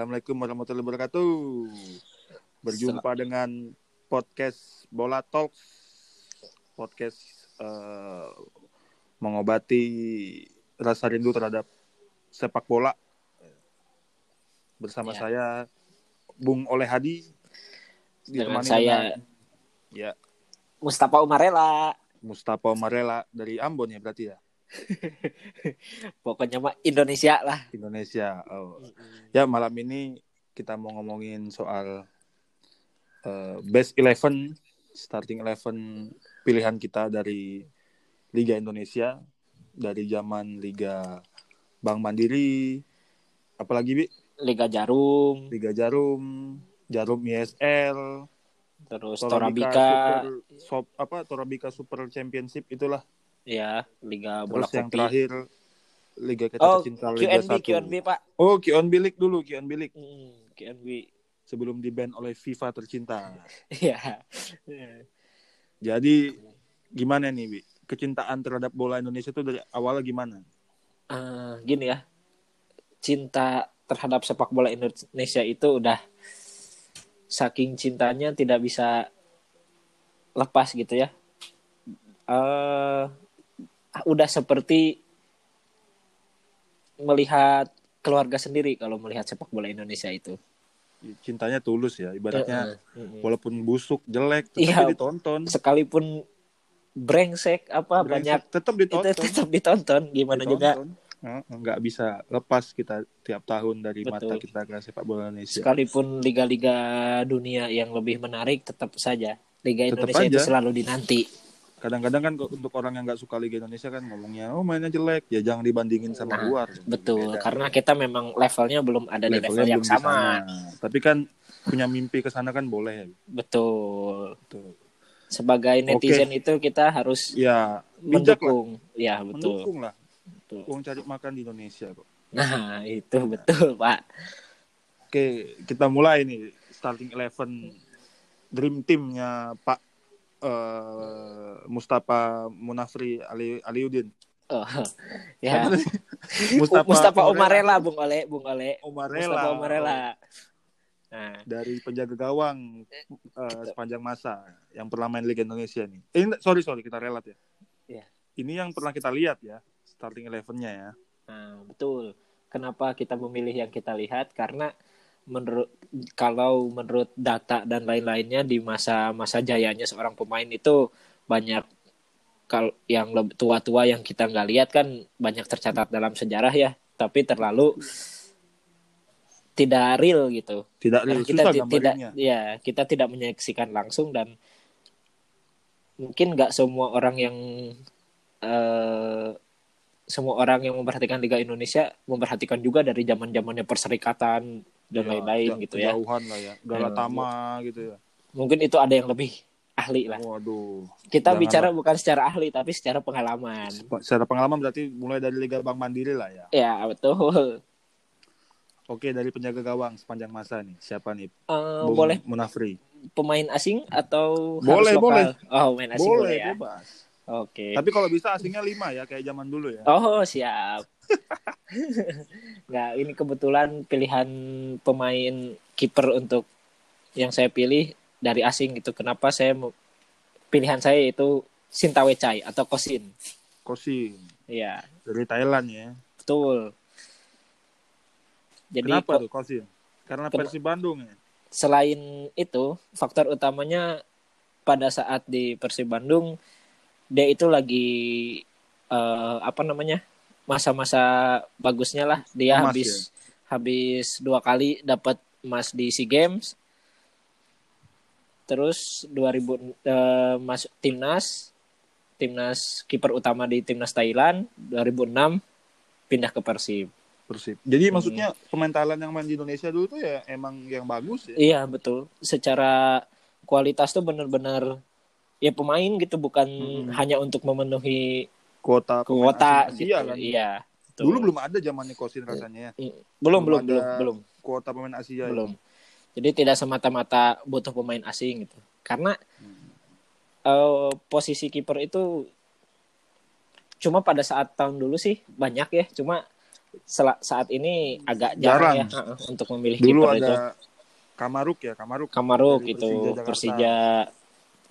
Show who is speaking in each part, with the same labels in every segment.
Speaker 1: Assalamualaikum warahmatullahi wabarakatuh. Berjumpa dengan podcast Bola Talks. Podcast eh, mengobati rasa rindu terhadap sepak bola. Bersama
Speaker 2: Ya.
Speaker 1: saya Bung Oleh Hadi.
Speaker 2: Dengan
Speaker 1: Ditemani
Speaker 2: saya
Speaker 1: dengan Ya.
Speaker 2: Mustafa Umarela.
Speaker 1: Mustafa Marela dari Ambon ya berarti ya.
Speaker 2: Pokoknya mah Indonesia lah.
Speaker 1: Indonesia. Oh. Ya malam ini kita mau ngomongin soal eh, best 11 starting 11 pilihan kita dari Liga Indonesia dari zaman Liga Bank Mandiri apalagi Bi?
Speaker 2: Liga Jarum,
Speaker 1: Liga Jarum, Jarum ISL,
Speaker 2: terus
Speaker 1: Super,
Speaker 2: Torabika,
Speaker 1: Sop- apa Torabika Super Championship itulah.
Speaker 2: ya, Liga Bola
Speaker 1: Terus yang
Speaker 2: Kopi.
Speaker 1: terakhir Liga kita
Speaker 2: Oh,
Speaker 1: tercinta Liga
Speaker 2: QNB,
Speaker 1: 1.
Speaker 2: QNB, Pak.
Speaker 1: Oh, Kion Bilik dulu, Kion Bilik
Speaker 2: Mm, QNB.
Speaker 1: sebelum di-ban oleh FIFA tercinta.
Speaker 2: Ya.
Speaker 1: Jadi gimana nih, Bi? Kecintaan terhadap bola Indonesia itu dari awal gimana?
Speaker 2: Eh, gini ya. Cinta terhadap sepak bola Indonesia itu udah saking cintanya tidak bisa lepas gitu ya. eh udah seperti melihat keluarga sendiri kalau melihat sepak bola Indonesia itu.
Speaker 1: Cintanya tulus ya, ibaratnya
Speaker 2: Heeh.
Speaker 1: walaupun busuk, jelek, tetap
Speaker 2: Iya.
Speaker 1: ditonton.
Speaker 2: Sekalipun brengsek apa
Speaker 1: Brengsek,
Speaker 2: banyak
Speaker 1: tetap
Speaker 2: itu
Speaker 1: ditonton.
Speaker 2: tetap ditonton gimana juga
Speaker 1: Ditonton. Heeh, nggak bisa lepas kita tiap tahun dari mata
Speaker 2: Betul.
Speaker 1: kita ke sepak bola Indonesia.
Speaker 2: sekalipun liga-liga dunia yang lebih menarik tetap saja liga
Speaker 1: Tetap
Speaker 2: Indonesia itu
Speaker 1: aja.
Speaker 2: selalu dinanti.
Speaker 1: Kadang-kadang kan untuk orang yang nggak suka Liga Indonesia kan ngomongnya, oh mainnya jelek, ya jangan dibandingin sama
Speaker 2: Nah,
Speaker 1: luar. Gitu,
Speaker 2: Betul,
Speaker 1: Beda.
Speaker 2: karena kita memang levelnya belum ada di level
Speaker 1: Levelnya
Speaker 2: yang
Speaker 1: belum di
Speaker 2: sama.
Speaker 1: sana. Tapi kan punya mimpi ke sana kan boleh gitu. ya.
Speaker 2: Betul.
Speaker 1: Betul.
Speaker 2: Sebagai netizen itu kita harus
Speaker 1: Ya, bijak lah,
Speaker 2: mendukung. Ya, betul.
Speaker 1: mendukung lah.
Speaker 2: betul.
Speaker 1: Uang cari makan di Indonesia kok.
Speaker 2: Nah, itu betul, Pak.
Speaker 1: Oke, kita mulai nih starting eleven dream teamnya Pak eh, Mustafa Munafri Ali Aliudin.
Speaker 2: Oh, ya.
Speaker 1: Mustafa,
Speaker 2: Mustafa
Speaker 1: Umarela.
Speaker 2: Omarela, Bung Ole, Bung Ole. Mustafa Omarela. Nah,
Speaker 1: dari penjaga gawang eh,
Speaker 2: Gitu.
Speaker 1: sepanjang masa yang pernah main Liga Indonesia nih. Eh, enggak, sorry sorry kita relat ya.
Speaker 2: Iya.
Speaker 1: Ini yang pernah kita lihat ya starting elevennya ya.
Speaker 2: Nah, betul. Kenapa kita memilih yang kita lihat? Karena menurut kalau menurut data dan lain-lainnya di masa-masa jayanya seorang pemain itu banyak kalau yang leb- tua-tua yang kita nggak lihat kan banyak tercatat dalam sejarah ya, tapi terlalu tidak real gitu.
Speaker 1: Tidak
Speaker 2: Karena
Speaker 1: real,
Speaker 2: kita
Speaker 1: susah
Speaker 2: ti- tidak
Speaker 1: gambarnya.
Speaker 2: ya, kita tidak menyaksikan langsung dan mungkin nggak semua orang yang eh, semua orang yang memperhatikan Liga Indonesia memperhatikan juga dari zaman zamannya perserikatan dan
Speaker 1: Ya,
Speaker 2: lain-lain
Speaker 1: ja-
Speaker 2: gitu ya.
Speaker 1: Kejauhan lah ya. Galatama gitu ya.
Speaker 2: Mungkin itu ada yang lebih ahli lah.
Speaker 1: Waduh.
Speaker 2: Kita
Speaker 1: Jangan
Speaker 2: bicara bukan secara ahli tapi secara pengalaman.
Speaker 1: Secara pengalaman berarti mulai dari Liga Bank Mandiri lah ya.
Speaker 2: Ya betul.
Speaker 1: Oke, dari penjaga gawang sepanjang masa nih. Siapa nih?
Speaker 2: Eh,
Speaker 1: Bung
Speaker 2: boleh
Speaker 1: Munafri.
Speaker 2: pemain asing atau
Speaker 1: Boleh,
Speaker 2: harus lokal?
Speaker 1: boleh.
Speaker 2: Oh main asing boleh, ya.
Speaker 1: bebas.
Speaker 2: Oke.
Speaker 1: Tapi kalau bisa asingnya lima ya, kayak zaman dulu ya.
Speaker 2: Oh siap. Nggak, ini kebetulan pilihan pemain kiper untuk yang saya pilih dari asing gitu. Kenapa saya mau- pilihan saya itu Sintawecai atau Kosin.
Speaker 1: Kosin
Speaker 2: Iya,
Speaker 1: dari Thailand ya.
Speaker 2: betul. Jadi
Speaker 1: Kenapa
Speaker 2: ko-
Speaker 1: tuh Kosin? Karena
Speaker 2: Ken-
Speaker 1: Persib Bandung ya.
Speaker 2: selain itu, faktor utamanya pada saat di Persib Bandung dia itu lagi eh, apa namanya? masa-masa bagusnya lah. Dia
Speaker 1: Emas
Speaker 2: habis habis dua kali dapat emas di SEA Games. Terus 2000 eh, masuk timnas timnas kiper utama di timnas Thailand 2006 pindah ke Persib.
Speaker 1: Persib. Jadi
Speaker 2: Hmm.
Speaker 1: maksudnya pemain Thailand yang main di Indonesia dulu tuh ya emang yang bagus ya.
Speaker 2: Iya betul. Secara kualitas tuh bener-bener ya pemain gitu bukan
Speaker 1: Mm-mm.
Speaker 2: hanya untuk memenuhi
Speaker 1: Kuota Hmm. pemain
Speaker 2: kuota
Speaker 1: asing
Speaker 2: gitu.
Speaker 1: Asia kan.
Speaker 2: Iya. betul.
Speaker 1: Dulu belum ada zamannya Kosin rasanya ya.
Speaker 2: belum
Speaker 1: belum
Speaker 2: belum
Speaker 1: ada Iya,
Speaker 2: belum belum
Speaker 1: Kuota pemain Asia. ya.
Speaker 2: belum. Jadi tidak semata-mata butuh pemain asing gitu. Karena
Speaker 1: Hmm.
Speaker 2: eh, posisi kiper itu cuma pada saat tahun dulu sih banyak ya. Cuma sel- saat ini agak
Speaker 1: Jarang.
Speaker 2: jarang, ya heeh, untuk memilih
Speaker 1: Dulu
Speaker 2: kiper itu.
Speaker 1: ada Kamaruk ya, Kamaruk.
Speaker 2: Kamaruk
Speaker 1: dari
Speaker 2: itu
Speaker 1: Persija
Speaker 2: gitu, Persija,
Speaker 1: Jakarta.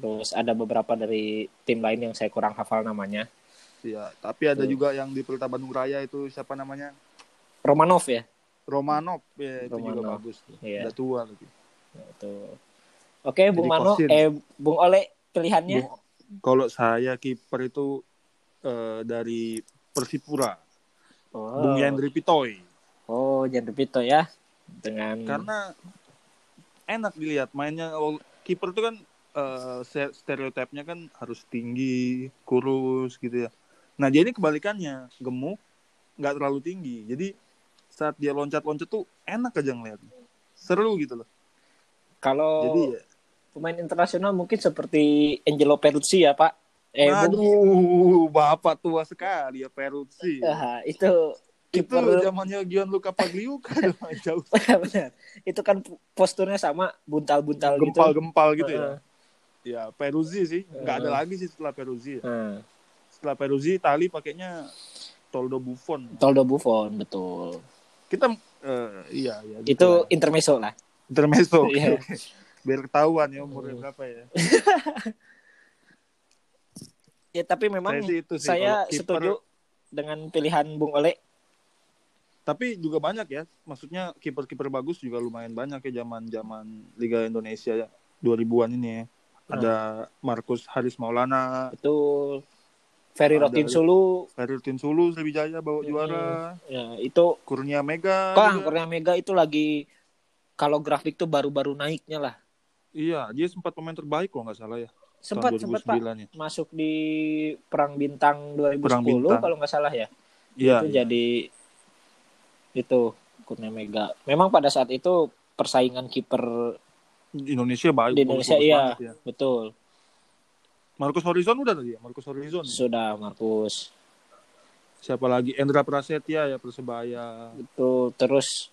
Speaker 2: terus ada beberapa dari tim lain yang saya kurang hafal namanya.
Speaker 1: Iya, tapi ada
Speaker 2: Tuh.
Speaker 1: juga yang di Pelita Bandung Raya itu siapa namanya?
Speaker 2: Romanov ya.
Speaker 1: Romanov ya, itu juga
Speaker 2: Romanov,
Speaker 1: bagus.
Speaker 2: iya.
Speaker 1: Udah tua lagi.
Speaker 2: Nah, Itu. Oke, Bung
Speaker 1: Jadi
Speaker 2: Mano
Speaker 1: Kosin.
Speaker 2: eh Bung Ole pilihannya
Speaker 1: Bu- Kalau saya kiper itu eh, dari Persipura, Bung Yandri Pitoy.
Speaker 2: Oh, Jan Pito ya. Dengan
Speaker 1: Karena enak dilihat mainnya Kalau kiper itu kan eh, se- stereotipnya kan harus tinggi, kurus gitu ya. Nah, jadi kebalikannya, gemuk nggak terlalu tinggi. Jadi saat dia loncat-loncat tuh enak aja ngeliatnya. Seru gitu loh.
Speaker 2: kalau
Speaker 1: Jadi ya,
Speaker 2: pemain internasional mungkin seperti Angelo Peruzzi ya, Pak. Eh, Bung,
Speaker 1: Aduh, bapak tua sekali ya Peruzzi.
Speaker 2: Ah, itu
Speaker 1: Itu
Speaker 2: kiper
Speaker 1: zamannya Gianluca Pagliuca dong, jauh
Speaker 2: benar. Itu kan posturnya sama buntal-buntal gitu.
Speaker 1: gempal-gempal gitu ya.
Speaker 2: Heeh.
Speaker 1: Ya, Peruzzi sih. Nggak ada
Speaker 2: Heeh.
Speaker 1: lagi sih setelah Peruzzi. ya.
Speaker 2: Nah,
Speaker 1: Setelah Peruzzi, Itali pakainya Toldo Buffon.
Speaker 2: Toldo Buffon, betul.
Speaker 1: Kita eh, iya iya
Speaker 2: itu
Speaker 1: gitu lah.
Speaker 2: intermezzo lah.
Speaker 1: intermezzo.
Speaker 2: Iya.
Speaker 1: Biar ketahuan ya umurnya berapa ya.
Speaker 2: Ya tapi memang
Speaker 1: Saya sih itu sih,
Speaker 2: saya
Speaker 1: kalau kiper-
Speaker 2: setuju dengan pilihan Bung Ole.
Speaker 1: Tapi juga banyak ya. Maksudnya kiper-kiper bagus juga lumayan banyak ya zaman-zaman Liga Indonesia 2000-an ini
Speaker 2: Iya.
Speaker 1: ya. Ada Markus Haris Maulana,
Speaker 2: Betul. Ferry
Speaker 1: Ada-
Speaker 2: Rotin Sulu
Speaker 1: Ferry Tinsulu Sriwijaya bawa
Speaker 2: Hmm.
Speaker 1: juara,
Speaker 2: ya, itu
Speaker 1: Kurnia Mega.
Speaker 2: Bang
Speaker 1: juga.
Speaker 2: Kurnia Mega itu lagi kalau grafik tuh baru-baru naiknya lah.
Speaker 1: Iya, dia sempat pemain terbaik kalau nggak salah ya.
Speaker 2: Sempat
Speaker 1: tahun
Speaker 2: sempat Pak
Speaker 1: 2009 ya.
Speaker 2: masuk di Perang Bintang 2010
Speaker 1: Perang Bintang.
Speaker 2: kalau nggak salah ya.
Speaker 1: Iya.
Speaker 2: itu
Speaker 1: iya.
Speaker 2: jadi itu Kurnia Mega. Memang pada saat itu persaingan kiper
Speaker 1: Indonesia baik.
Speaker 2: di Indonesia
Speaker 1: bagus
Speaker 2: iya,
Speaker 1: banget ya.
Speaker 2: betul.
Speaker 1: Marcus Horizon udah tadi ya, Marcus Horizon.
Speaker 2: Sudah Markus.
Speaker 1: Siapa lagi? Endra Prasetya ya Persebaya.
Speaker 2: Itu terus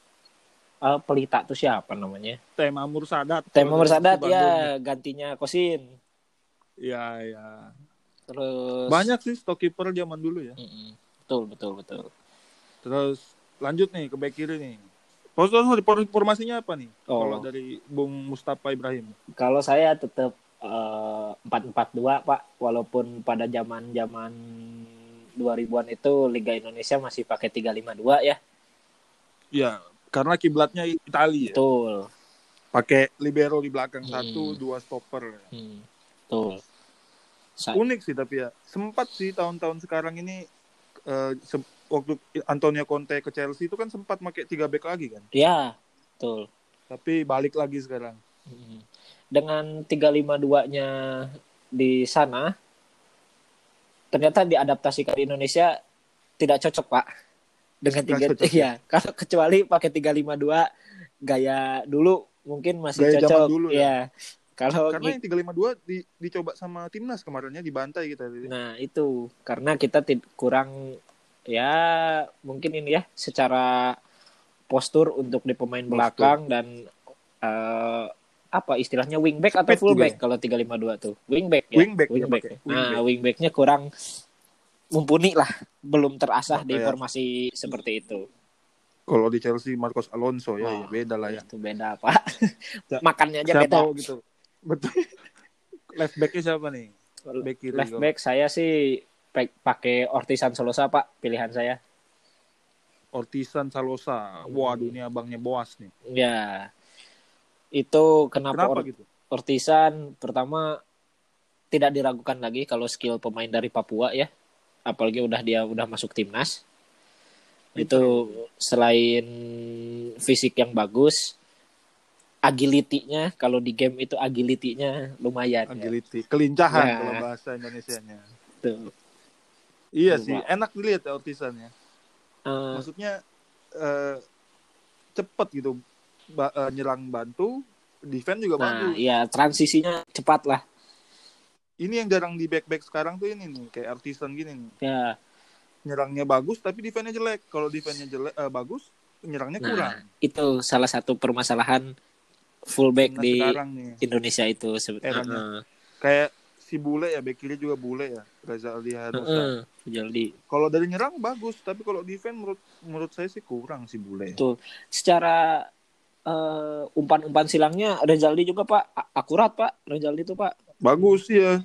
Speaker 2: eh, pelita tuh siapa namanya?
Speaker 1: Tema Mursadat.
Speaker 2: Tema Mersadat
Speaker 1: Bandung.
Speaker 2: ya gantinya Kosin.
Speaker 1: Iya, iya.
Speaker 2: Terus
Speaker 1: Banyak sih stok kiper zaman dulu ya.
Speaker 2: Mm-mm. Betul betul betul.
Speaker 1: Terus lanjut nih ke back kiri nih. Terus terus por- formasinya apa nih?
Speaker 2: Oh.
Speaker 1: Kalau dari Bung Mustafa Ibrahim.
Speaker 2: Kalau saya tetap empat empat dua pak, walaupun pada zaman zaman 2000-an itu Liga Indonesia masih pakai 352 ya.
Speaker 1: Iya, karena kiblatnya Italia.
Speaker 2: Betul.
Speaker 1: Pakai libero di belakang
Speaker 2: Hmm.
Speaker 1: satu, dua stopper.
Speaker 2: Hmm, betul. Sa-
Speaker 1: Unik sih tapi ya. Sempat sih tahun-tahun sekarang ini eh, se- waktu Antonio Conte ke Chelsea itu kan sempat pakai tiga back lagi kan.
Speaker 2: ya, betul.
Speaker 1: Tapi balik lagi sekarang.
Speaker 2: Mm. Dengan 352-nya di sana ternyata diadaptasi ke Indonesia tidak cocok, Pak. Dengan tiga
Speaker 1: Nggak cocok, ya?
Speaker 2: iya, kalau kecuali pakai 352 gaya dulu mungkin masih
Speaker 1: Gaya zaman
Speaker 2: cocok.
Speaker 1: dulu, ya.
Speaker 2: Iya. Kalau
Speaker 1: Karena
Speaker 2: i-
Speaker 1: yang 352 di, dicoba sama timnas kemarinnya dibantai kita.
Speaker 2: nah itu karena kita tid- kurang ya mungkin ini ya secara postur untuk di pemain
Speaker 1: Postur.
Speaker 2: belakang dan eh, apa istilahnya wingback atau
Speaker 1: Speed ya?
Speaker 2: fullback kalau 352 tuh wingback ya
Speaker 1: Wingback dia
Speaker 2: wingback.
Speaker 1: pakai,
Speaker 2: nah
Speaker 1: wingback.
Speaker 2: wingbacknya kurang mumpuni lah belum terasah di
Speaker 1: Makanya.
Speaker 2: formasi seperti itu
Speaker 1: Kalau di Chelsea Marcos Alonso ya, ya
Speaker 2: Wah.
Speaker 1: beda lah ya.
Speaker 2: itu beda pak
Speaker 1: Sa-
Speaker 2: makannya aja
Speaker 1: siapa
Speaker 2: beda
Speaker 1: gitu betul left backnya siapa nih back kiri
Speaker 2: left
Speaker 1: kalau.
Speaker 2: back saya sih pe- pakai Ortisan Solosa pak pilihan saya
Speaker 1: Ortisan Salosa wah
Speaker 2: Hmm.
Speaker 1: dunia abangnya boas nih
Speaker 2: ya itu kenapa,
Speaker 1: kenapa
Speaker 2: Or-
Speaker 1: gitu
Speaker 2: Ortisan pertama tidak diragukan lagi kalau skill pemain dari Papua ya apalagi udah dia udah masuk timnas
Speaker 1: Iya.
Speaker 2: itu selain fisik yang bagus agility-nya kalau di game itu agility-nya lumayan ya.
Speaker 1: agility kelincahan
Speaker 2: Ya.
Speaker 1: kalau bahasa Indonesianya
Speaker 2: Tuh.
Speaker 1: iya
Speaker 2: Coba.
Speaker 1: sih enak dilihat ya Ortisannya
Speaker 2: Eh,
Speaker 1: maksudnya eh, cepet gitu Ba- eh, nyerang bantu defense juga
Speaker 2: nah
Speaker 1: bantu
Speaker 2: ya transisinya cepat lah
Speaker 1: ini yang jarang di back back sekarang tuh ini nih kayak Ortisan gini nih
Speaker 2: ya
Speaker 1: nyerangnya bagus tapi defense-nya jelek kalau defense-nya jelek eh, bagus nyerangnya
Speaker 2: Nah,
Speaker 1: kurang
Speaker 2: itu salah satu permasalahan
Speaker 1: Nah,
Speaker 2: fullback di
Speaker 1: sekarang nih
Speaker 2: Indonesia itu Ah, sebenarnya
Speaker 1: Eranya. kayak si si bule ya, bek kiri juga bule ya, Reza Aldihan.
Speaker 2: Heeh, Fujaldi.
Speaker 1: Kalau dari nyerang bagus, tapi kalau defense menurut menurut saya sih kurang si bule. Ya.
Speaker 2: Betul. Secara eh, umpan-umpan silangnya Rezaldi juga Pak A- akurat Pak Rezaldi itu Pak.
Speaker 1: Bagus ya.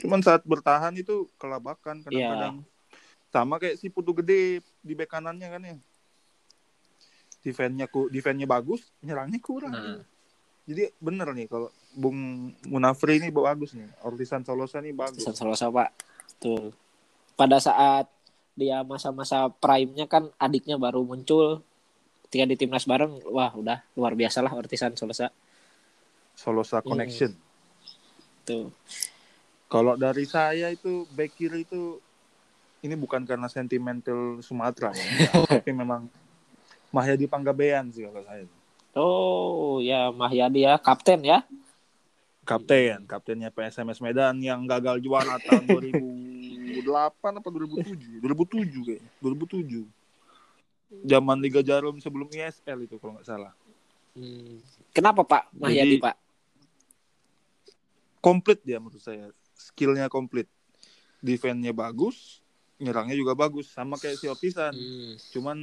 Speaker 1: Cuman saat bertahan itu kelabakan kadang-kadang.
Speaker 2: Iya.
Speaker 1: Sama kayak si Putu Gede di bek kanannya kan ya. Defense-nya ku defense-nya bagus, nyerangnya kurang.
Speaker 2: Nah,
Speaker 1: Jadi bener nih kalau Bung Munafri ini bagus nih. Ortisan Solosa ini bagus.
Speaker 2: pesan Solosa Pak. Betul. Pada saat dia masa-masa prime-nya kan adiknya baru muncul ketika di timnas bareng wah udah luar biasa lah Ortisan Solosa
Speaker 1: Solosa connection.
Speaker 2: tuh
Speaker 1: Kalau dari saya itu bek kiri itu ini bukan karena sentimental Sumatera ya, tapi memang Mahyadi Panggabean sih kalau saya.
Speaker 2: oh ya Mahyadi ya kapten ya
Speaker 1: Kapten, kaptennya PSMS Medan yang gagal juara tahun 2008 apa 2007? 2007 kayaknya, 2007. Zaman Liga Jarum sebelum ISL itu kalau nggak salah.
Speaker 2: Hmm. kenapa Pak Mahyadi
Speaker 1: Jadi-
Speaker 2: Pak
Speaker 1: Komplit dia menurut saya. Skillnya komplit. Defense-nya bagus, nyerangnya juga bagus sama kayak si Ortisan.
Speaker 2: Hmm.
Speaker 1: Cuman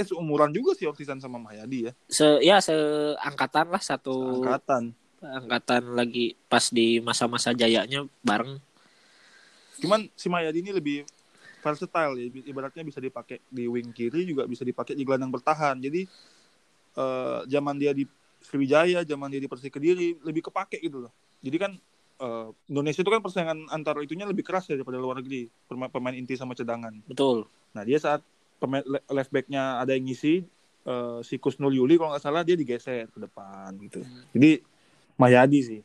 Speaker 1: eh seumuran juga si Ortisan sama Mahyadi ya.
Speaker 2: se ya seangkatan lah satu
Speaker 1: angkatan.
Speaker 2: angkatan lagi pas di masa-masa jayanya bareng
Speaker 1: Cuman si Mayadi ini lebih versatile ya. ibaratnya bisa dipakai di wing kiri juga bisa dipakai di gelandang bertahan. Jadi eh, zaman dia di Sriwijaya, zaman dia di Persi Kediri lebih kepake gitu loh. Jadi kan eh, Indonesia itu kan persaingan antar itunya lebih keras ya daripada luar negeri pemain, pemain inti sama cadangan.
Speaker 2: betul
Speaker 1: Nah dia saat pemain le- left backnya ada yang ngisi eh, si Kusnul Yuli kalau nggak salah dia digeser ke depan gitu. Jadi Mayadi sih.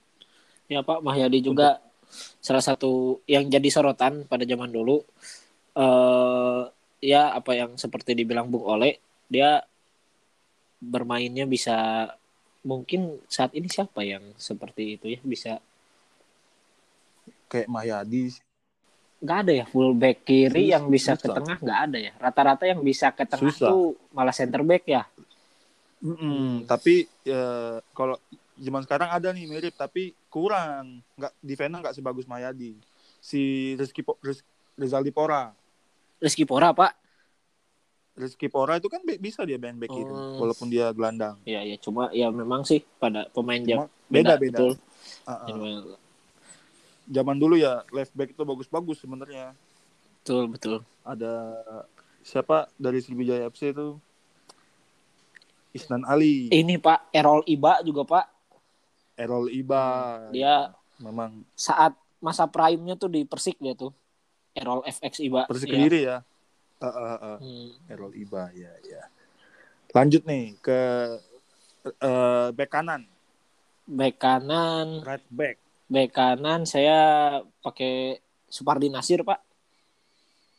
Speaker 2: ya Pak Mahyadi juga salah satu yang jadi sorotan pada zaman dulu eh ya apa yang seperti dibilang Bung Ole dia bermainnya bisa mungkin saat ini siapa yang seperti itu ya bisa
Speaker 1: Kayak Mayadi
Speaker 2: nggak ada ya full back kiri
Speaker 1: Sus-
Speaker 2: yang bisa ke
Speaker 1: susah.
Speaker 2: tengah nggak ada ya rata-rata yang bisa ke tengah
Speaker 1: Susah.
Speaker 2: tuh malah center back ya
Speaker 1: Mm-mm, Tapi eh, kalau zaman sekarang ada nih mirip tapi kurang nggak di Vena nggak sebagus Mayadi si Rizky Po- Riz- Rizaldi Pora
Speaker 2: Rizky Pora Pak
Speaker 1: Rizky Pora itu kan bi- bisa dia main back kiri
Speaker 2: Oh.
Speaker 1: walaupun dia gelandang
Speaker 2: ya ya cuma ya memang sih pada pemain
Speaker 1: Cuma
Speaker 2: jam
Speaker 1: beda beda
Speaker 2: betul.
Speaker 1: Ah, ah.
Speaker 2: Jadi,
Speaker 1: zaman dulu ya left back itu bagus-bagus sebenarnya
Speaker 2: betul betul
Speaker 1: ada siapa dari Sriwijaya FC itu Isnan Ali
Speaker 2: ini Pak Erol Iba juga Pak
Speaker 1: Errol Iba
Speaker 2: dia
Speaker 1: memang
Speaker 2: saat masa prime-nya tuh di Persik dia tuh Erol FX Iba
Speaker 1: Persik
Speaker 2: Ya.
Speaker 1: Kediri ya Ah, ah, ah.
Speaker 2: Hmm,
Speaker 1: Errol Iba ya ya. Lanjut nih ke eh, back kanan,
Speaker 2: back kanan
Speaker 1: right back.
Speaker 2: back kanan saya pakai Supardi Nasir Pak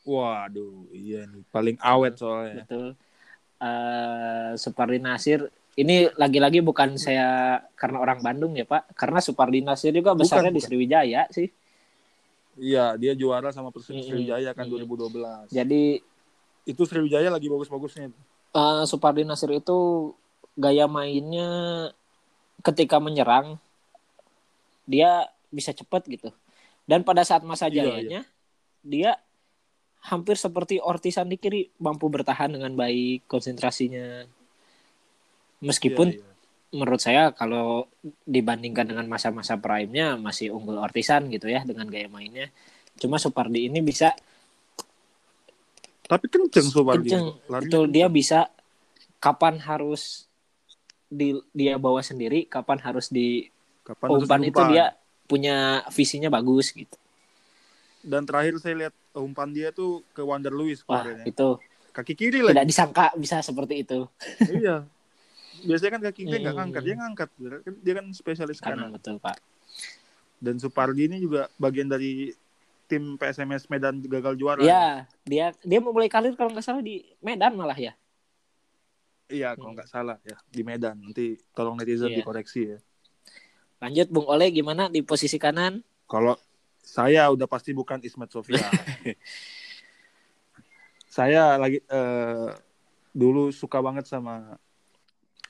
Speaker 1: Waduh, iya nih paling awet soalnya.
Speaker 2: betul Eh, Supardi Nasir ini lagi-lagi bukan saya karena orang Bandung ya Pak karena Supardi Nasir juga
Speaker 1: Bukan,
Speaker 2: besarnya di
Speaker 1: bukan.
Speaker 2: Sriwijaya sih
Speaker 1: Iya, dia juara sama Persib
Speaker 2: Mm-mm.
Speaker 1: Sriwijaya kan
Speaker 2: Mm-mm.
Speaker 1: 2012.
Speaker 2: jadi
Speaker 1: Itu Sriwijaya lagi bagus-bagusnya.
Speaker 2: eh Supardi Nasir itu gaya mainnya ketika menyerang dia bisa cepat gitu. Dan pada saat masa
Speaker 1: Iya,
Speaker 2: jayanya dia hampir seperti Ortisan di kiri mampu bertahan dengan baik konsentrasinya. Meskipun
Speaker 1: Iya, iya.
Speaker 2: menurut saya kalau dibandingkan dengan masa-masa prime-nya masih unggul Ortisan gitu ya dengan gaya mainnya. Cuma Supardi ini bisa
Speaker 1: Tapi kenceng Sobat
Speaker 2: kenceng. Betul dia bisa kapan harus di, dia bawa sendiri, kapan harus di
Speaker 1: Kapan harus
Speaker 2: umpan itu
Speaker 1: diumpan.
Speaker 2: dia punya visinya bagus gitu.
Speaker 1: dan terakhir saya lihat eh, umpan dia tuh ke Wander Luis
Speaker 2: Wah,
Speaker 1: kemarin ya.
Speaker 2: itu
Speaker 1: Kaki kiri lagi.
Speaker 2: tidak disangka bisa seperti itu.
Speaker 1: iya. Biasanya kan kaki kiri nggak
Speaker 2: Mm.
Speaker 1: ngangkat, dia ngangkat. Kan Dia kan spesialis kanan.
Speaker 2: Karena betul, Pak.
Speaker 1: dan Supardi ini juga bagian dari tim PSMS Medan gagal juara.
Speaker 2: Iya, dia dia memulai karir kalau nggak salah di Medan malah ya.
Speaker 1: Iya, kalau nggak salah ya di Medan. Nanti tolong netizen
Speaker 2: Iya.
Speaker 1: dikoreksi ya.
Speaker 2: Lanjut Bung Ole gimana di posisi kanan?
Speaker 1: Kalau saya udah pasti bukan Ismet Sofia. saya lagi eh, dulu suka banget sama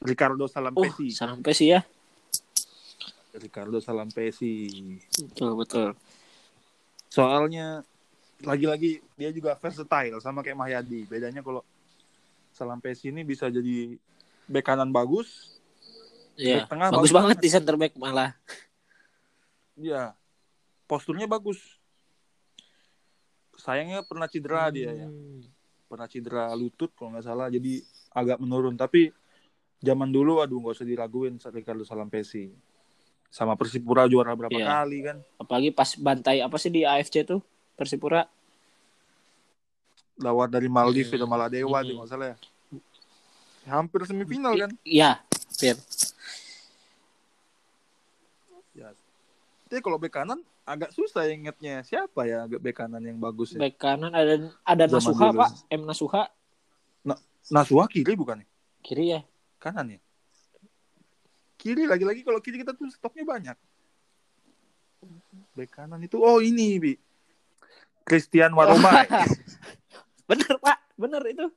Speaker 1: Ricardo
Speaker 2: Uh,
Speaker 1: Salampesi.
Speaker 2: salam Pesi ya.
Speaker 1: Ricardo Salampesi.
Speaker 2: Betul, betul.
Speaker 1: Soalnya lagi-lagi dia juga versatile sama kayak Mahyadi. Bedanya kalau Salampesi ini bisa jadi bek kanan bagus.
Speaker 2: Iya.
Speaker 1: Back tengah
Speaker 2: bagus
Speaker 1: bagus
Speaker 2: banget di center back malah.
Speaker 1: Ya. Posturnya bagus. Sayangnya pernah cedera dia ya.
Speaker 2: Hmm.
Speaker 1: Pernah cedera lutut kalau nggak salah jadi agak menurun tapi zaman dulu aduh nggak usah diraguin Ricardo Salampesi. Sama Persipura juara berapa
Speaker 2: Iya.
Speaker 1: kali kan?
Speaker 2: Apalagi pas bantai apa sih di AFC tuh Persipura?
Speaker 1: lawan dari Maldives
Speaker 2: Hmm.
Speaker 1: itu malah dewa
Speaker 2: Hmm.
Speaker 1: tuh nggak salah ya hampir semifinal kan
Speaker 2: Iya.
Speaker 1: ya tapi kalau bek kanan agak susah ya ingetnya siapa ya agak bek kanan yang bagus ya
Speaker 2: Back kanan ada ada
Speaker 1: Zaman
Speaker 2: Nasuha,
Speaker 1: dulu.
Speaker 2: Pak. M Nasuha
Speaker 1: Nasuha kiri bukan ya
Speaker 2: kiri ya.
Speaker 1: kanan ya kiri lagi-lagi kalau kiri kita tuh stoknya banyak bek kanan itu oh ini bi Christian Waromai
Speaker 2: bener, Pak. Bener itu.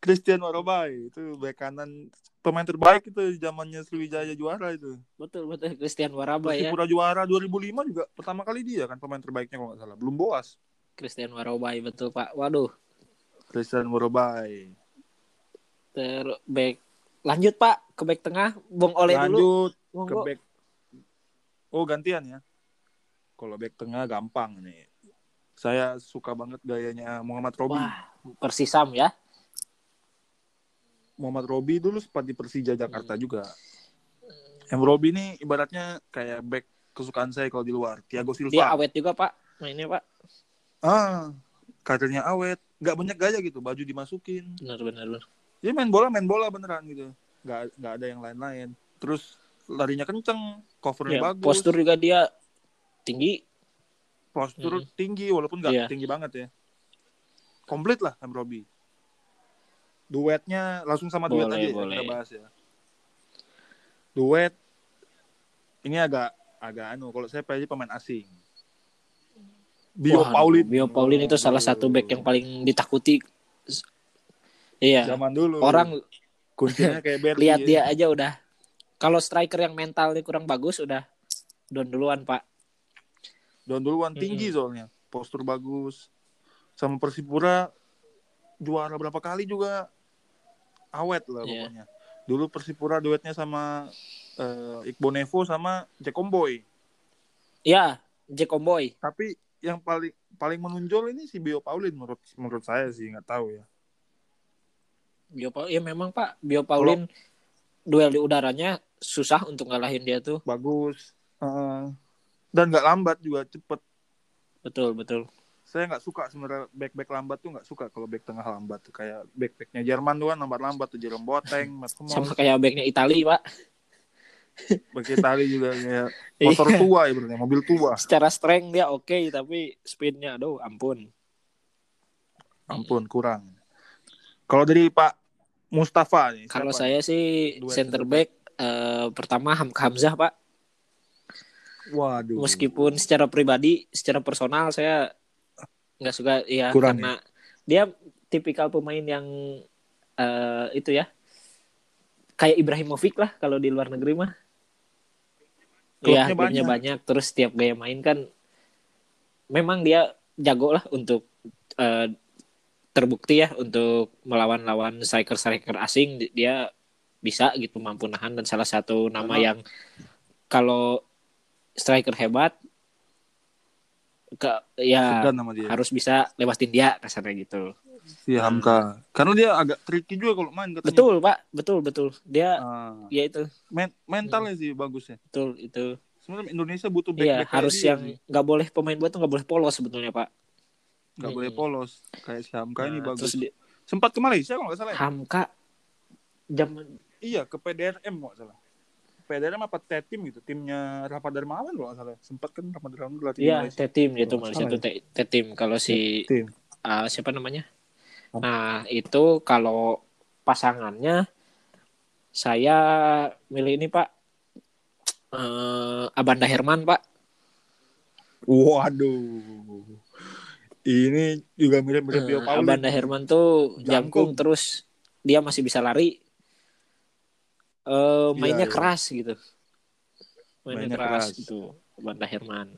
Speaker 1: Christian Waromai itu bek kanan pemain terbaik itu zamannya Sriwijaya juara itu
Speaker 2: Betul, betul Christian Waraba ya.
Speaker 1: Persipura juara 2005 juga pertama kali dia kan pemain terbaiknya kalau nggak salah belum boas
Speaker 2: Christian Warobay betul, Pak. Waduh.
Speaker 1: Christian Morobai.
Speaker 2: Ter back lanjut, Pak, ke back tengah. Bong Oleh dulu.
Speaker 1: Lanjut ke
Speaker 2: Monggo.
Speaker 1: back. Oh gantian ya. Kalau back tengah gampang nih. Saya suka banget gayanya Muhammad Robi.
Speaker 2: Wah, Persisam ya.
Speaker 1: Muhammad Robi dulu sempat di Persija Jakarta
Speaker 2: Hmm.
Speaker 1: juga. Yang Robi ini ibaratnya kayak back kesukaan saya kalau di luar. Thiago
Speaker 2: Dia
Speaker 1: Silva.
Speaker 2: awet juga, Pak. Mainnya, Pak.
Speaker 1: ah, karirnya awet. Gak banyak gaya gitu. Baju dimasukin.
Speaker 2: Bener, bener, bener.
Speaker 1: Dia main bola main bola beneran gitu. Gak nggak ada yang lain-lain. Terus larinya kenceng, covernya
Speaker 2: Ya,
Speaker 1: bagus.
Speaker 2: postur juga dia tinggi.
Speaker 1: postur tinggi walaupun nggak
Speaker 2: Iya.
Speaker 1: tinggi banget ya. Komplit lah sama Robi. Duetnya langsung sama duet
Speaker 2: Boleh,
Speaker 1: aja ya,
Speaker 2: boleh.
Speaker 1: kita bahas ya. Duet ini agak agak anu kalau saya pilih pemain asing. Bio
Speaker 2: Wah,
Speaker 1: Paulin.
Speaker 2: Bio Paulin itu salah satu back yang paling ditakuti. S- Iya.
Speaker 1: zaman dulu.
Speaker 2: Orang
Speaker 1: kuncinya kayak ya. Berli.
Speaker 2: lihat dia aja udah. Kalau striker yang mentalnya kurang bagus udah down duluan, Pak.
Speaker 1: Don duluan tinggi soalnya. Postur bagus. Sama Persipura juara berapa kali juga awet lah
Speaker 2: Iya.
Speaker 1: pokoknya. Dulu Persipura duetnya sama eh, Iqbal Nevo sama Jack Omboy.
Speaker 2: Ya, Jack Omboy.
Speaker 1: Tapi yang paling paling menonjol ini si Bio Paulin menurut menurut saya sih nggak tahu ya.
Speaker 2: Bio Paulin ya memang, Pak. Bio Paulin duel di udaranya susah untuk ngalahin dia tuh.
Speaker 1: Bagus. Eh, dan nggak lambat juga cepet.
Speaker 2: Betul, betul.
Speaker 1: Saya nggak suka sebenarnya back back lambat tuh nggak suka kalau back tengah lambat tuh kayak back backnya Jerman doang lambat lambat tuh Jerome Boateng, Matt Hummels.
Speaker 2: Sama kayak backnya Itali, Pak.
Speaker 1: Bagi tali juga kayak motor
Speaker 2: Iya.
Speaker 1: tua ya berarti, mobil tua.
Speaker 2: Secara strength dia oke, tapi speednya aduh ampun.
Speaker 1: Ampun kurang. Kalau dari Pak Mustafa nih.
Speaker 2: Kalau
Speaker 1: siapa?
Speaker 2: saya sih
Speaker 1: Dua
Speaker 2: center
Speaker 1: center
Speaker 2: back eh, pertama Hamka Hamzah, Pak.
Speaker 1: waduh.
Speaker 2: meskipun secara pribadi, secara personal saya nggak suka ya
Speaker 1: Kurang
Speaker 2: karena dia tipikal pemain yang eh, itu ya kayak Ibrahimovic lah kalau di luar negeri mah.
Speaker 1: Klubnya
Speaker 2: Iya,
Speaker 1: banyak.
Speaker 2: klubnya banyak. Terus setiap gaya main kan memang dia jago lah untuk eh, terbukti ya untuk melawan-lawan striker-striker asing di- dia bisa gitu mampu nahan dan salah satu nama
Speaker 1: Karena-
Speaker 2: yang kalau striker hebat ke ya
Speaker 1: Segan nama dia. Iya.
Speaker 2: harus bisa lewatin dia kasarnya gitu.
Speaker 1: Si Hamka. Karena dia agak tricky juga kalau main katanya.
Speaker 2: Betul, Pak. Betul, betul. Dia
Speaker 1: Ah,
Speaker 2: ya itu,
Speaker 1: men- mentalnya sih bagusnya.
Speaker 2: betul itu.
Speaker 1: Sebenarnya Indonesia butuh back
Speaker 2: Iya, harus yang nggak boleh pemain buat tuh nggak boleh polos sebetulnya, Pak.
Speaker 1: nggak boleh polos kayak si Hamka ini
Speaker 2: Nah,
Speaker 1: bagus.
Speaker 2: Terus di-
Speaker 1: Sempat ke Malaysia kalau nggak salah. ya?
Speaker 2: Hamka jam
Speaker 1: Iya ke PDRM kalau nggak salah. PDRM apa Tetim gitu, timnya Rafa Darmawan kalau nggak salah. Sempat kan Rafa Darmawan dilatih
Speaker 2: Iya,
Speaker 1: Malaysia.
Speaker 2: T-Team dia tuh
Speaker 1: Kalau
Speaker 2: Malaysia
Speaker 1: salah
Speaker 2: tuh T- T-Team. Kalau si
Speaker 1: Team.
Speaker 2: ah, siapa namanya?
Speaker 1: Apa?
Speaker 2: Nah, itu kalau pasangannya saya milih ini, Pak. Eh, Abanda Herman, Pak.
Speaker 1: Waduh. Ini juga mirip-mirip Bio
Speaker 2: Eh,
Speaker 1: Paulin.
Speaker 2: Abanda Herman tuh
Speaker 1: Jangkung.
Speaker 2: jangkung terus dia masih bisa lari. Eh, mainnya
Speaker 1: iya.
Speaker 2: keras gitu. mainnya
Speaker 1: Mainnya
Speaker 2: keras,
Speaker 1: keras.
Speaker 2: itu Banda Herman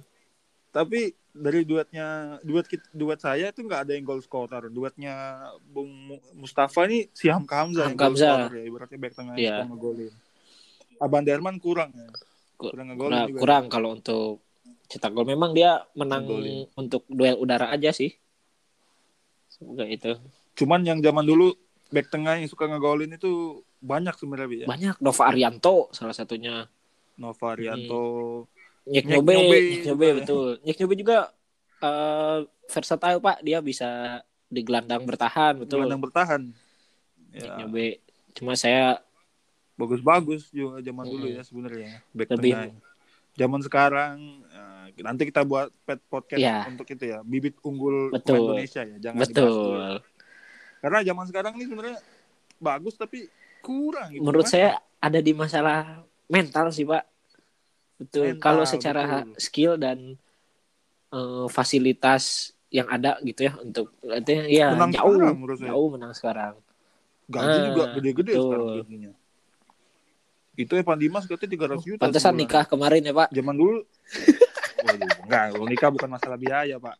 Speaker 1: Tapi dari duetnya duet kit- duet saya itu nggak ada yang goal scorer. Duetnya Bung Mu- Mustafa ini si Hamka Hamzah yang
Speaker 2: Hamka
Speaker 1: goal
Speaker 2: Hamzah.
Speaker 1: scorer ya, ibaratnya back tengah
Speaker 2: Iya.
Speaker 1: sama golin. Abang Derman kurang ya.
Speaker 2: Ku-
Speaker 1: Kurang ngegolin
Speaker 2: kurang,
Speaker 1: juga.
Speaker 2: Nah, kurang kalau untuk cetak gol memang dia menang
Speaker 1: Ngegolin.
Speaker 2: untuk duel udara aja sih semoga itu
Speaker 1: Cuman yang zaman dulu back tengah yang suka ngegolin itu banyak sebenarnya Bi, ya.
Speaker 2: banyak Nova Arianto salah satunya
Speaker 1: Nova Arianto.
Speaker 2: Iya. Nyek
Speaker 1: Nyek
Speaker 2: Nyobe
Speaker 1: Nyobe.
Speaker 2: Nyek Nyobe betul Nyek Nyobe juga eh, versatile pak dia bisa di gelandang bertahan betul Iya,
Speaker 1: gelandang bertahan.
Speaker 2: Nyek
Speaker 1: Ya,
Speaker 2: Nyobe cuma saya
Speaker 1: bagus-bagus juga zaman dulu
Speaker 2: Mm-mm.
Speaker 1: ya sebenarnya back
Speaker 2: Lebih-
Speaker 1: tengah. Zaman sekarang eh, nanti kita buat pet podcast
Speaker 2: Iya.
Speaker 1: untuk itu ya, bibit unggul pemain
Speaker 2: Betul.
Speaker 1: Indonesia ya, jangan dibahas dulu ya.
Speaker 2: betul
Speaker 1: Karena zaman sekarang ini sebenarnya bagus tapi kurang gitu.
Speaker 2: menurut
Speaker 1: Mas.
Speaker 2: saya ada di masalah mental sih pak betul
Speaker 1: Mental,
Speaker 2: kalau secara
Speaker 1: betul.
Speaker 2: skill dan eh, fasilitas yang ada gitu ya untuk artinya ya
Speaker 1: Menang
Speaker 2: jauh
Speaker 1: sekarang menurut saya.
Speaker 2: jauh menang sekarang
Speaker 1: gaji
Speaker 2: Ah,
Speaker 1: juga gede-gede
Speaker 2: betul.
Speaker 1: sekarang gajinya. Itu Evan Dimas katanya 300 juta.
Speaker 2: pantesan
Speaker 1: sebulan.
Speaker 2: nikah kemarin ya pak
Speaker 1: Zaman dulu Waduh, enggak, kalau nikah bukan masalah biaya, Pak.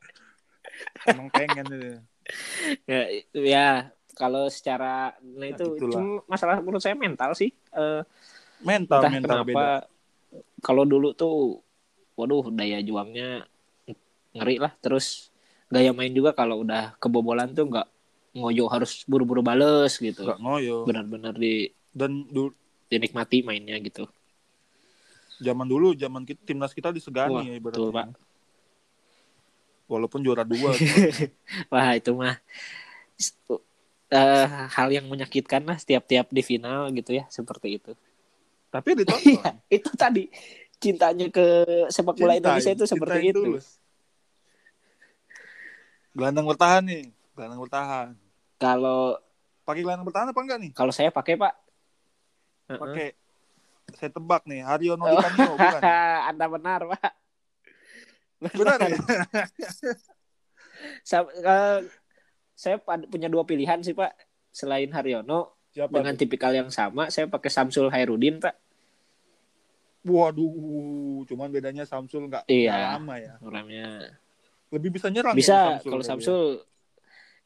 Speaker 1: Emang pengen ya.
Speaker 2: ya, itu ya kalau secara nah
Speaker 1: Ya,
Speaker 2: itu
Speaker 1: itulah.
Speaker 2: cuma masalah menurut saya mental sih Eh,
Speaker 1: Mental,
Speaker 2: entah
Speaker 1: mental
Speaker 2: kenapa kalau dulu tuh waduh daya juangnya ngeri lah terus gaya main juga kalau udah kebobolan tuh nggak ngoyo harus buru-buru bales
Speaker 1: beda.
Speaker 2: gitu
Speaker 1: Enggak ngoyo.
Speaker 2: benar-benar di
Speaker 1: Dan dulu
Speaker 2: dinikmati mainnya gitu
Speaker 1: zaman dulu zaman kita, timnas kita disegani
Speaker 2: Wah,
Speaker 1: ya ibaratnya.
Speaker 2: betul, Pak.
Speaker 1: Walaupun juara dua
Speaker 2: wah itu mah s- eh, hal yang menyakitkan lah setiap-tiap di final gitu ya seperti itu
Speaker 1: tapi ditonton.
Speaker 2: itu tadi cintanya ke sepak Iya, bola Indonesia itu seperti
Speaker 1: cintain
Speaker 2: itu
Speaker 1: tulus. Gelandang bertahan nih, gelandang bertahan.
Speaker 2: kalau
Speaker 1: Pakai gelandang bertahan apa enggak nih?
Speaker 2: kalau saya pakai pak Heeh.
Speaker 1: Pakai. Saya tebak nih, Haryono
Speaker 2: Oh.
Speaker 1: Dikanio bukan?
Speaker 2: anda benar pak
Speaker 1: Benar ya?
Speaker 2: Sa- eh, saya pad- punya dua pilihan sih pak selain Haryono
Speaker 1: Siapa?
Speaker 2: dengan tipikal yang sama saya pakai Samsul Hairudin pak
Speaker 1: Waduh, cuman bedanya Samsul nggak
Speaker 2: Iya.
Speaker 1: nggak lama ya.
Speaker 2: orangnya
Speaker 1: Lebih bisa nyerang. ya
Speaker 2: bisa
Speaker 1: Samsul
Speaker 2: kalau
Speaker 1: tapi
Speaker 2: Samsul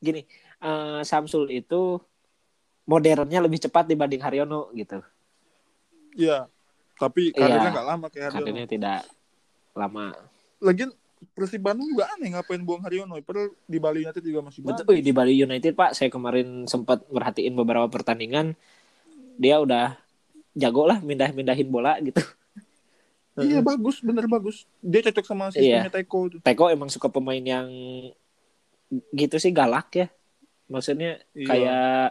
Speaker 2: gini eh, Samsul itu modernnya lebih cepat dibanding Haryono gitu
Speaker 1: ya. Iya. Tapi
Speaker 2: Iya.
Speaker 1: karirnya nggak lama kayak Haryono.
Speaker 2: karirnya tidak lama
Speaker 1: Lagian Persib Bandung juga aneh ngapain buang Haryono. Padahal di Bali United juga masih banyak.
Speaker 2: Betul, Wih, di Bali United Pak, saya kemarin sempat merhatiin beberapa pertandingan, dia udah jago lah mindah-mindahin bola gitu.
Speaker 1: Iya bagus, bener bagus. Dia cocok sama
Speaker 2: Iya.
Speaker 1: sistemnya Teko tuh.
Speaker 2: Teko emang suka pemain yang gitu sih galak ya. Maksudnya
Speaker 1: Iya.
Speaker 2: kayak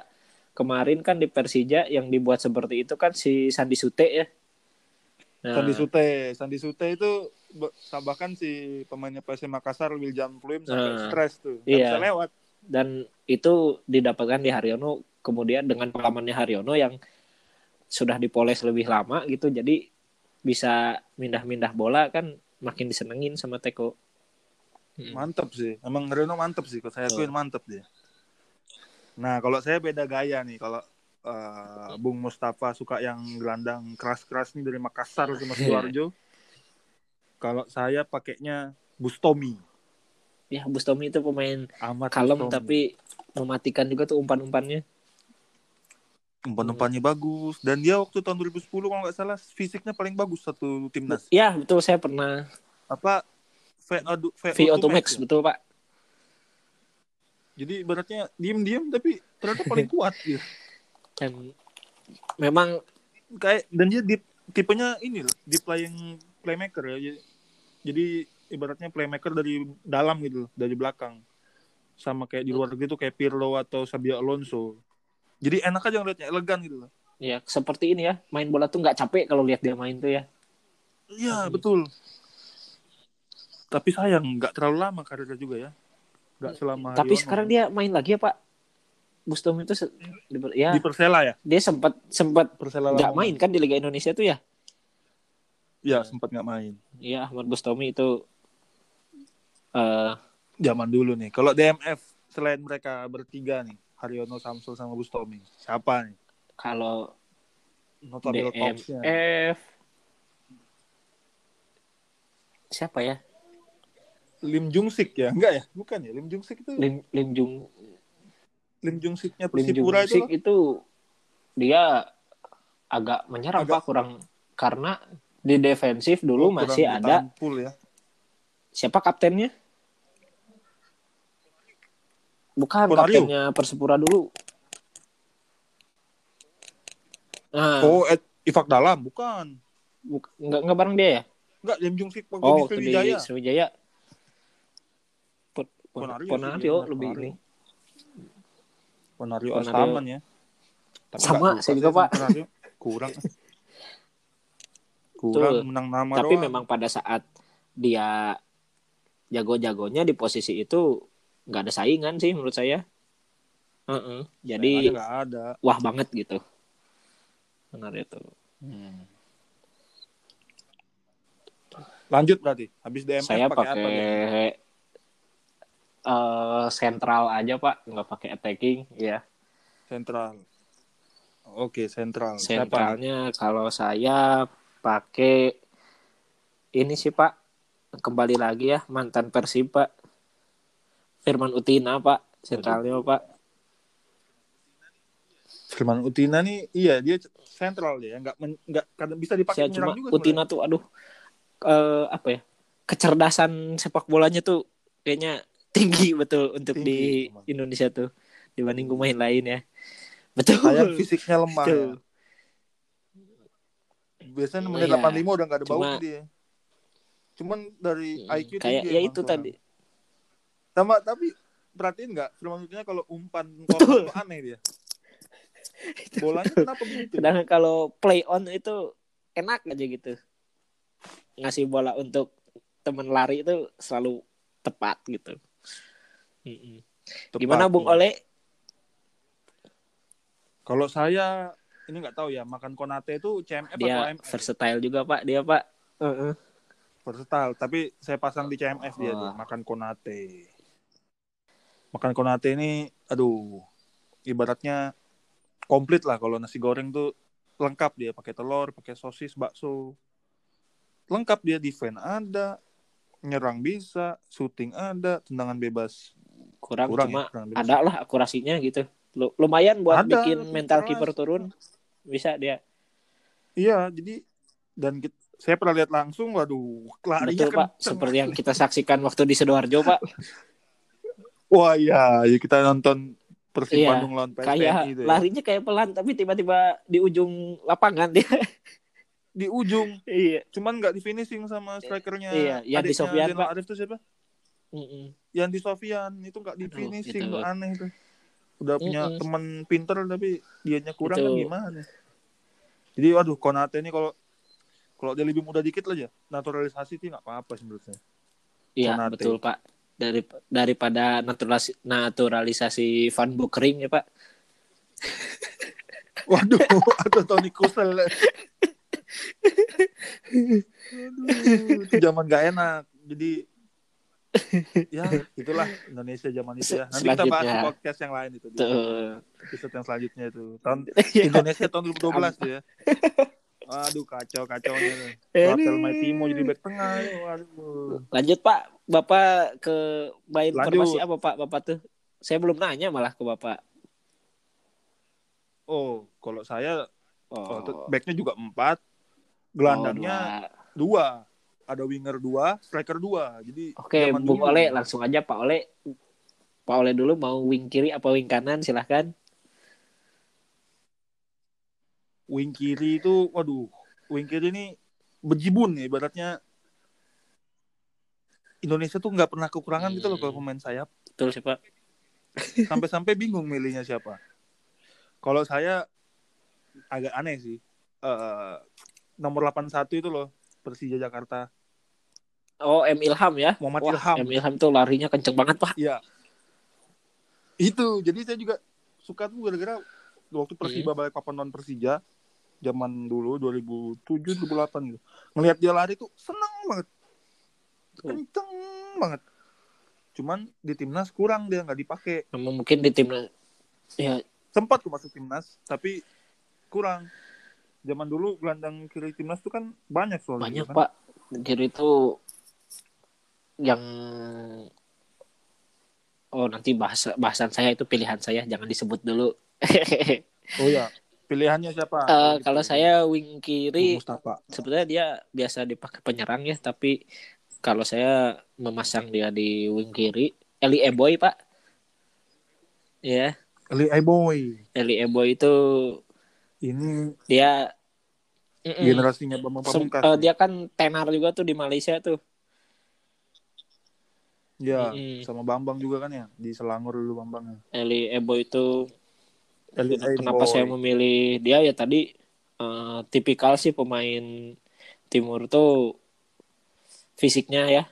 Speaker 2: kemarin kan di Persija yang dibuat seperti itu kan si Sandi Sute ya. Nah,
Speaker 1: Sandi Sute, Sandi Sute itu be- bahkan si pemainnya PSM Makassar William Pluim sampai
Speaker 2: Nah.
Speaker 1: stres tuh, Nggak
Speaker 2: Iya.
Speaker 1: bisa lewat.
Speaker 2: dan itu didapatkan di Haryono kemudian dengan pengalamannya Haryono yang sudah dipoles lebih lama gitu jadi bisa mindah-mindah bola kan makin disenengin sama Teko Hmm.
Speaker 1: Mantep sih, emang Haryono mantep sih. Kalau saya akuin mantep dia. Nah kalau saya beda gaya nih, kalau eh, Bung Mustafa suka yang gelandang keras-keras nih dari Makassar sama
Speaker 2: Iya.
Speaker 1: Sidoarjo. kalau saya pakainya Bustomi,
Speaker 2: ya Bustomi itu pemain
Speaker 1: Ahmad
Speaker 2: kalem
Speaker 1: Bustomi.
Speaker 2: tapi mematikan juga tuh umpan-umpannya
Speaker 1: umpan-umpannya bagus dan dia waktu tahun 2010 kalau nggak salah fisiknya paling bagus satu timnas
Speaker 2: ya betul saya pernah
Speaker 1: apa V adu
Speaker 2: VO to
Speaker 1: ya?
Speaker 2: Max betul Pak
Speaker 1: jadi ibaratnya diem-diem tapi ternyata paling kuat gitu.
Speaker 2: dan memang
Speaker 1: kayak dan dia di, tipenya ini loh di playing playmaker ya Jadi- jadi ibaratnya playmaker dari dalam gitu loh, dari belakang sama kayak di luar gitu kayak Pirlo atau Sabia Alonso jadi enak aja ngeliatnya elegan gitu loh
Speaker 2: ya seperti ini ya main bola tuh nggak capek kalau lihat dia main tuh ya
Speaker 1: Iya
Speaker 2: Hmm.
Speaker 1: betul. Tapi sayang nggak terlalu lama karirnya juga ya. Nggak selama.
Speaker 2: tapi sekarang dia main lagi ya Pak Bustomi itu se- di- ya
Speaker 1: di Persela ya.
Speaker 2: dia sempat sempat
Speaker 1: Persela
Speaker 2: nggak
Speaker 1: Lamongan.
Speaker 2: main kan di Liga Indonesia tuh ya
Speaker 1: Ya sempat nggak main.
Speaker 2: Iya Ahmad Bustomi itu eh
Speaker 1: Zaman dulu nih. Kalau DMF selain mereka bertiga nih, Haryono, Samsul sama Bustomi. Siapa nih?
Speaker 2: kalau
Speaker 1: ya. Notable topsnya.
Speaker 2: DMF siapa ya?
Speaker 1: Lim Jung Sik ya? Enggak ya? Bukan ya? Lim Jung Sik itu Lim,
Speaker 2: Lim Lim Jung
Speaker 1: Jung Siknya
Speaker 2: Lim Jung
Speaker 1: Persipura itu kan?
Speaker 2: Sik
Speaker 1: loh.
Speaker 2: itu dia agak menyerang
Speaker 1: Agak- Oh,
Speaker 2: Pak kurang karena di defensif dulu
Speaker 1: Kurang
Speaker 2: masih ada
Speaker 1: ditampul ya.
Speaker 2: siapa kaptennya? Bukan
Speaker 1: Honorio.
Speaker 2: kaptennya Persipura dulu. Nah,
Speaker 1: Oh, Ed, Ifak Dalam bukan.
Speaker 2: buk- nggak nggak bareng dia ya?
Speaker 1: Enggak, Lim Jung Sik waktu
Speaker 2: Oh,
Speaker 1: di
Speaker 2: waktu di
Speaker 1: Sriwijaya.
Speaker 2: Sriwijaya. Pon- Pon-
Speaker 1: Ponario sih
Speaker 2: Ponario
Speaker 1: dia,
Speaker 2: lebih
Speaker 1: Ponario.
Speaker 2: ini.
Speaker 1: Ponario
Speaker 2: Ponario.
Speaker 1: Astaman ya. Tapi
Speaker 2: Sama,
Speaker 1: enggak juga
Speaker 2: saya juga,
Speaker 1: sih sama
Speaker 2: Pak.
Speaker 1: Ponario. Kurang. Kurang
Speaker 2: Betul.
Speaker 1: menang nama
Speaker 2: Tapi
Speaker 1: doang.
Speaker 2: memang pada saat dia jago-jagonya di posisi itu nggak ada saingan sih menurut saya. Heeh.
Speaker 1: Yang
Speaker 2: Jadi
Speaker 1: ada enggak ada.
Speaker 2: wah banget gitu. Benar itu. Hmm.
Speaker 1: Lanjut berarti. Habis DMF
Speaker 2: saya
Speaker 1: pakai apa? gitu?
Speaker 2: pakai
Speaker 1: nih?
Speaker 2: eh, sentral aja pak, nggak pakai attacking ya.
Speaker 1: Sentral. Oke, sentral. Siapa?
Speaker 2: Sentralnya kalau saya pakai ini sih Pak. Kembali lagi ya mantan Persib Pak. Firman Utina Pak, sentralnya Pak.
Speaker 1: Firman Utina nih, iya dia c- sentral dia, nggak men- nggak kadang bisa dipakai
Speaker 2: Saya
Speaker 1: menyerang
Speaker 2: cuma
Speaker 1: juga.
Speaker 2: Utina tuh aduh eh, apa ya? Kecerdasan sepak bolanya tuh kayaknya tinggi betul untuk
Speaker 1: Tinggi,
Speaker 2: di
Speaker 1: emang.
Speaker 2: Indonesia tuh dibanding pemain lain ya. Betul.
Speaker 1: sebenarnya. Sayang fisiknya lemah.
Speaker 2: Betul.
Speaker 1: ya. Biasanya
Speaker 2: Oh,
Speaker 1: menit
Speaker 2: iya.
Speaker 1: 85 udah nggak ada
Speaker 2: Cuma-
Speaker 1: bau dia. Cuman dari IQ
Speaker 2: kayak
Speaker 1: tinggi
Speaker 2: ya
Speaker 1: emang
Speaker 2: itu
Speaker 1: soalnya.
Speaker 2: tadi
Speaker 1: Sama tapi perhatiin nggak Firman Utina kalau umpan kosong
Speaker 2: Betul.
Speaker 1: tuh aneh dia. Bolanya kenapa gitu? begitu?
Speaker 2: Sedangkan kalau play on itu enak aja gitu. Ngasih bola untuk temen lari itu selalu tepat gitu. Mm-mm.
Speaker 1: Tepat,
Speaker 2: Gimana Bung
Speaker 1: ya.
Speaker 2: Ole?
Speaker 1: Kalau saya ini nggak tahu ya makan konate itu CMF atau
Speaker 2: Dia
Speaker 1: MF
Speaker 2: versatile juga Pak, dia Pak. Heeh.
Speaker 1: versatile tapi saya pasang di CMF dia tuh
Speaker 2: Wah.
Speaker 1: makan konate makan konate ini aduh ibaratnya komplit lah kalau nasi goreng tuh lengkap dia pakai telur pakai sosis bakso lengkap dia defense ada nyerang bisa shooting ada tendangan bebas
Speaker 2: Kurang,
Speaker 1: kurang ya
Speaker 2: cuma
Speaker 1: tendangan bebas.
Speaker 2: ada lah akurasinya gitu. Lu- Lumayan buat
Speaker 1: Ada,
Speaker 2: bikin
Speaker 1: tapi
Speaker 2: mental
Speaker 1: keras.
Speaker 2: kiper turun. Bisa dia.
Speaker 1: iya jadi dan kit- saya pernah lihat langsung waduh larinya
Speaker 2: Betul Pak,
Speaker 1: kenceng.
Speaker 2: seperti yang kita saksikan waktu di Sidoarjo Pak.
Speaker 1: Wah iya, ya kita nonton Persib
Speaker 2: Iya,
Speaker 1: Bandung lawan PSPNI
Speaker 2: kayak
Speaker 1: itu ya.
Speaker 2: larinya kayak pelan tapi tiba-tiba di ujung lapangan dia.
Speaker 1: di ujung,
Speaker 2: iya.
Speaker 1: cuman nggak di finishing sama strikernya.
Speaker 2: Iya, Yandi
Speaker 1: adiknya
Speaker 2: Sofyan,
Speaker 1: Zainal
Speaker 2: Pak.
Speaker 1: Arif itu siapa?
Speaker 2: Mm-mm.
Speaker 1: Yandi Sofyan itu nggak di
Speaker 2: Aduh,
Speaker 1: finishing,
Speaker 2: gitu.
Speaker 1: tuh aneh tuh. Udah punya
Speaker 2: Mm-mm.
Speaker 1: teman pinter tapi dianya kurang
Speaker 2: Itu.
Speaker 1: kan gimana? Jadi waduh Konate ini kalau kalau dia lebih muda dikit aja naturalisasi sih nggak apa-apa sih menurut saya.
Speaker 2: Iya
Speaker 1: Konate.
Speaker 2: betul Pak. Dari daripada naturalisasi, naturalisasi Van Bukering ya Pak.
Speaker 1: Waduh, atau Tony Kusel. Aduh, itu zaman gak enak. Jadi ya itulah Indonesia zaman itu ya. Nanti kita bahas di
Speaker 2: Selanjutnya.
Speaker 1: podcast yang lain itu. di
Speaker 2: Tuh.
Speaker 1: Episode yang selanjutnya itu. Tahun
Speaker 2: Iya.
Speaker 1: Indonesia tahun 2012 tuh ya. Aduh kacau kacaunya. Rafael
Speaker 2: Aduh.
Speaker 1: Maitimo jadi back tengah. ya, Waduh.
Speaker 2: Lanjut Pak, Bapak ke main
Speaker 1: Lanjut.
Speaker 2: informasi apa Pak Bapak tuh? Saya belum nanya malah ke Bapak.
Speaker 1: Oh, kalau saya oh,
Speaker 2: Oh,
Speaker 1: tuh backnya juga empat, gelandangnya
Speaker 2: Oh, dua.
Speaker 1: dua, ada winger dua, striker dua. Jadi
Speaker 2: Oke,
Speaker 1: zaman
Speaker 2: Bung
Speaker 1: dulu.
Speaker 2: Ole langsung aja Pak Ole. Pak Ole dulu mau wing kiri apa wing kanan silahkan.
Speaker 1: wing kiri itu waduh wing kiri ini bejibun ya ibaratnya Indonesia tuh nggak pernah kekurangan gitu loh kalau
Speaker 2: Hmm.
Speaker 1: pemain sayap
Speaker 2: Betul sih Pak.
Speaker 1: sampai-sampai bingung milihnya siapa kalau saya agak aneh sih Eh, nomor 81 itu loh Persija Jakarta
Speaker 2: Oh, M Ilham ya.
Speaker 1: Muhammad
Speaker 2: Wah,
Speaker 1: Ilham
Speaker 2: M Ilham tuh larinya kenceng banget Pak.
Speaker 1: Iya. Itu, jadi saya juga suka tuh gara-gara waktu Persiba balik papan non Persija zaman dulu 2007 2008 gitu. Ngelihat dia lari tuh seneng banget.
Speaker 2: Tuh.
Speaker 1: Kenceng banget. Cuman di timnas kurang dia nggak dipakai.
Speaker 2: Memang mungkin di timnas ya
Speaker 1: Sempat tuh masuk timnas tapi kurang. Zaman dulu gelandang kiri timnas tuh kan banyak soalnya.
Speaker 2: banyak
Speaker 1: gitu kan.
Speaker 2: pak kiri itu yang oh nanti bahasa bahasan saya itu pilihan saya jangan disebut dulu.
Speaker 1: Oh ya, pilihannya siapa?
Speaker 2: Eh, kalau
Speaker 1: gitu.
Speaker 2: saya wing kiri
Speaker 1: Mustafa.
Speaker 2: sebenarnya dia biasa dipakai penyerang ya tapi kalau saya memasang dia di wing kiri Eli Eboy pak ya
Speaker 1: Eli Boy.
Speaker 2: Eli Eboy itu
Speaker 1: Ini
Speaker 2: dia Mm-mm.
Speaker 1: generasinya Bambang
Speaker 2: Hmm. Sem-
Speaker 1: Pamungkas.
Speaker 2: eh, dia kan tenar juga tuh di Malaysia tuh
Speaker 1: ya,
Speaker 2: Mm-mm.
Speaker 1: sama Bambang juga kan ya di Selangor dulu Bambangnya.
Speaker 2: Eli Eboy itu
Speaker 1: Eli
Speaker 2: Ken- Iya, kenapa
Speaker 1: Eboy.
Speaker 2: saya memilih dia ya tadi eh, tipikal sih pemain timur tuh fisiknya ya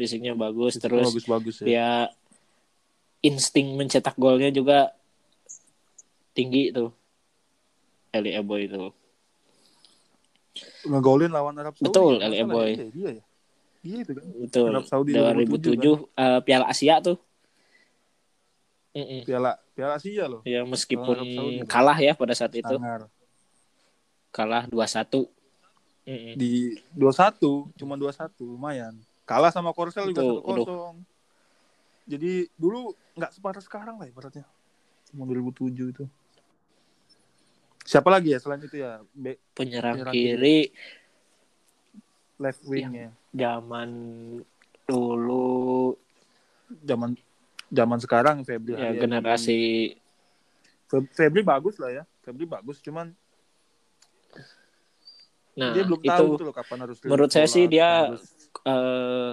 Speaker 2: fisiknya bagus terus Iya.
Speaker 1: bagus-bagus ya.
Speaker 2: dia insting mencetak golnya juga tinggi tuh Eli Eboy itu
Speaker 1: Ngegolin lawan Arab Saudi.
Speaker 2: Betul,
Speaker 1: Nggak
Speaker 2: Eli
Speaker 1: salah
Speaker 2: Eboy.
Speaker 1: ya, Dia, dia ya. Dia itu kan.
Speaker 2: betul
Speaker 1: Arab Saudi
Speaker 2: 2007
Speaker 1: 2007
Speaker 2: eh, Piala Asia tuh Mm-mm.
Speaker 1: Piala Piala Asia loh.
Speaker 2: ya meskipun
Speaker 1: Arab Saudi.
Speaker 2: kalah ya pada saat itu
Speaker 1: Sangar.
Speaker 2: kalah 2-1 Mm-mm.
Speaker 1: Di 21, cuma 21 lumayan. Kalah sama Korsel juga
Speaker 2: Betul,
Speaker 1: 1-0. Jadi dulu nggak separah sekarang lah ibaratnya. Cuma 2007 itu. Siapa lagi ya selain itu ya? Back
Speaker 2: penyerang
Speaker 1: Penyerang
Speaker 2: kiri
Speaker 1: left
Speaker 2: Iya.
Speaker 1: wingnya
Speaker 2: zaman dulu
Speaker 1: zaman zaman sekarang Febri
Speaker 2: ya
Speaker 1: Haryadi.
Speaker 2: generasi
Speaker 1: Fe- Febri bagus lah ya Febri bagus cuman
Speaker 2: nah
Speaker 1: dia belum
Speaker 2: itu
Speaker 1: tahu tuh loh kapan harus
Speaker 2: menurut saya
Speaker 1: bola,
Speaker 2: sih dia-
Speaker 1: kapan harus-
Speaker 2: eh,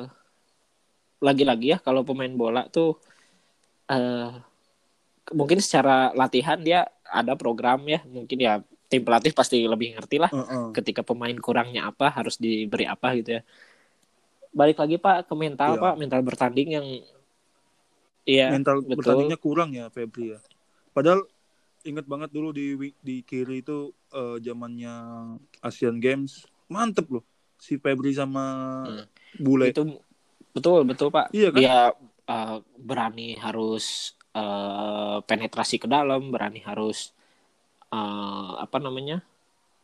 Speaker 2: lagi-lagi ya kalau pemain bola tuh eh mungkin secara latihan dia ada program ya mungkin ya tim pelatih pasti lebih ngerti lah
Speaker 1: Heeh.
Speaker 2: ketika pemain kurangnya apa harus diberi apa gitu ya balik lagi pak ke mental
Speaker 1: Iya.
Speaker 2: pak mental bertanding yang iya
Speaker 1: mental
Speaker 2: betul.
Speaker 1: bertandingnya kurang ya Febri ya padahal inget banget dulu di wi- di kiri itu eh, zamannya Asian Games mantep loh si Febri sama
Speaker 2: Hmm.
Speaker 1: Bule
Speaker 2: itu betul betul pak
Speaker 1: Iya kan?
Speaker 2: dia eh, berani harus eh, penetrasi ke dalam berani harus eh, apa namanya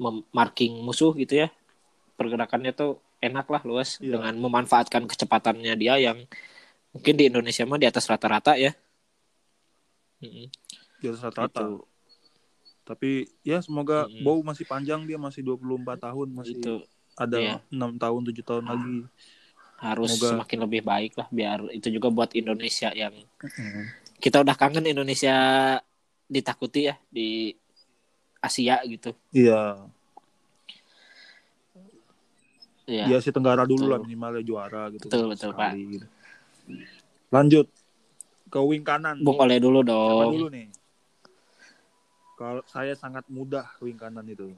Speaker 2: mem- marking musuh gitu ya pergerakannya tuh enak lah luas
Speaker 1: Iya.
Speaker 2: dengan memanfaatkan kecepatannya dia yang mungkin di Indonesia mah di atas rata-rata ya Mm-mm,
Speaker 1: di atas rata-rata
Speaker 2: gitu.
Speaker 1: tapi ya semoga
Speaker 2: Mm-mm.
Speaker 1: Bow masih panjang dia masih 24 tahun masih
Speaker 2: Gitu. Iya.
Speaker 1: ada enam tahun tujuh
Speaker 2: Ah.
Speaker 1: tahun lagi
Speaker 2: harus
Speaker 1: Semoga-
Speaker 2: semakin lebih baik lah biar itu juga buat Indonesia yang kita udah kangen Indonesia ditakuti ya di Asia gitu
Speaker 1: iya
Speaker 2: ya,
Speaker 1: di Asia Tenggara dulu
Speaker 2: Betul.
Speaker 1: lah minimalnya juara gitu.
Speaker 2: Betul, betul,
Speaker 1: Sekali gitu. Lanjut ke wing kanan.
Speaker 2: Bung Oleh dulu
Speaker 1: Siapa
Speaker 2: dong.
Speaker 1: dulu nih? Kalau saya sangat mudah wing kanan itu.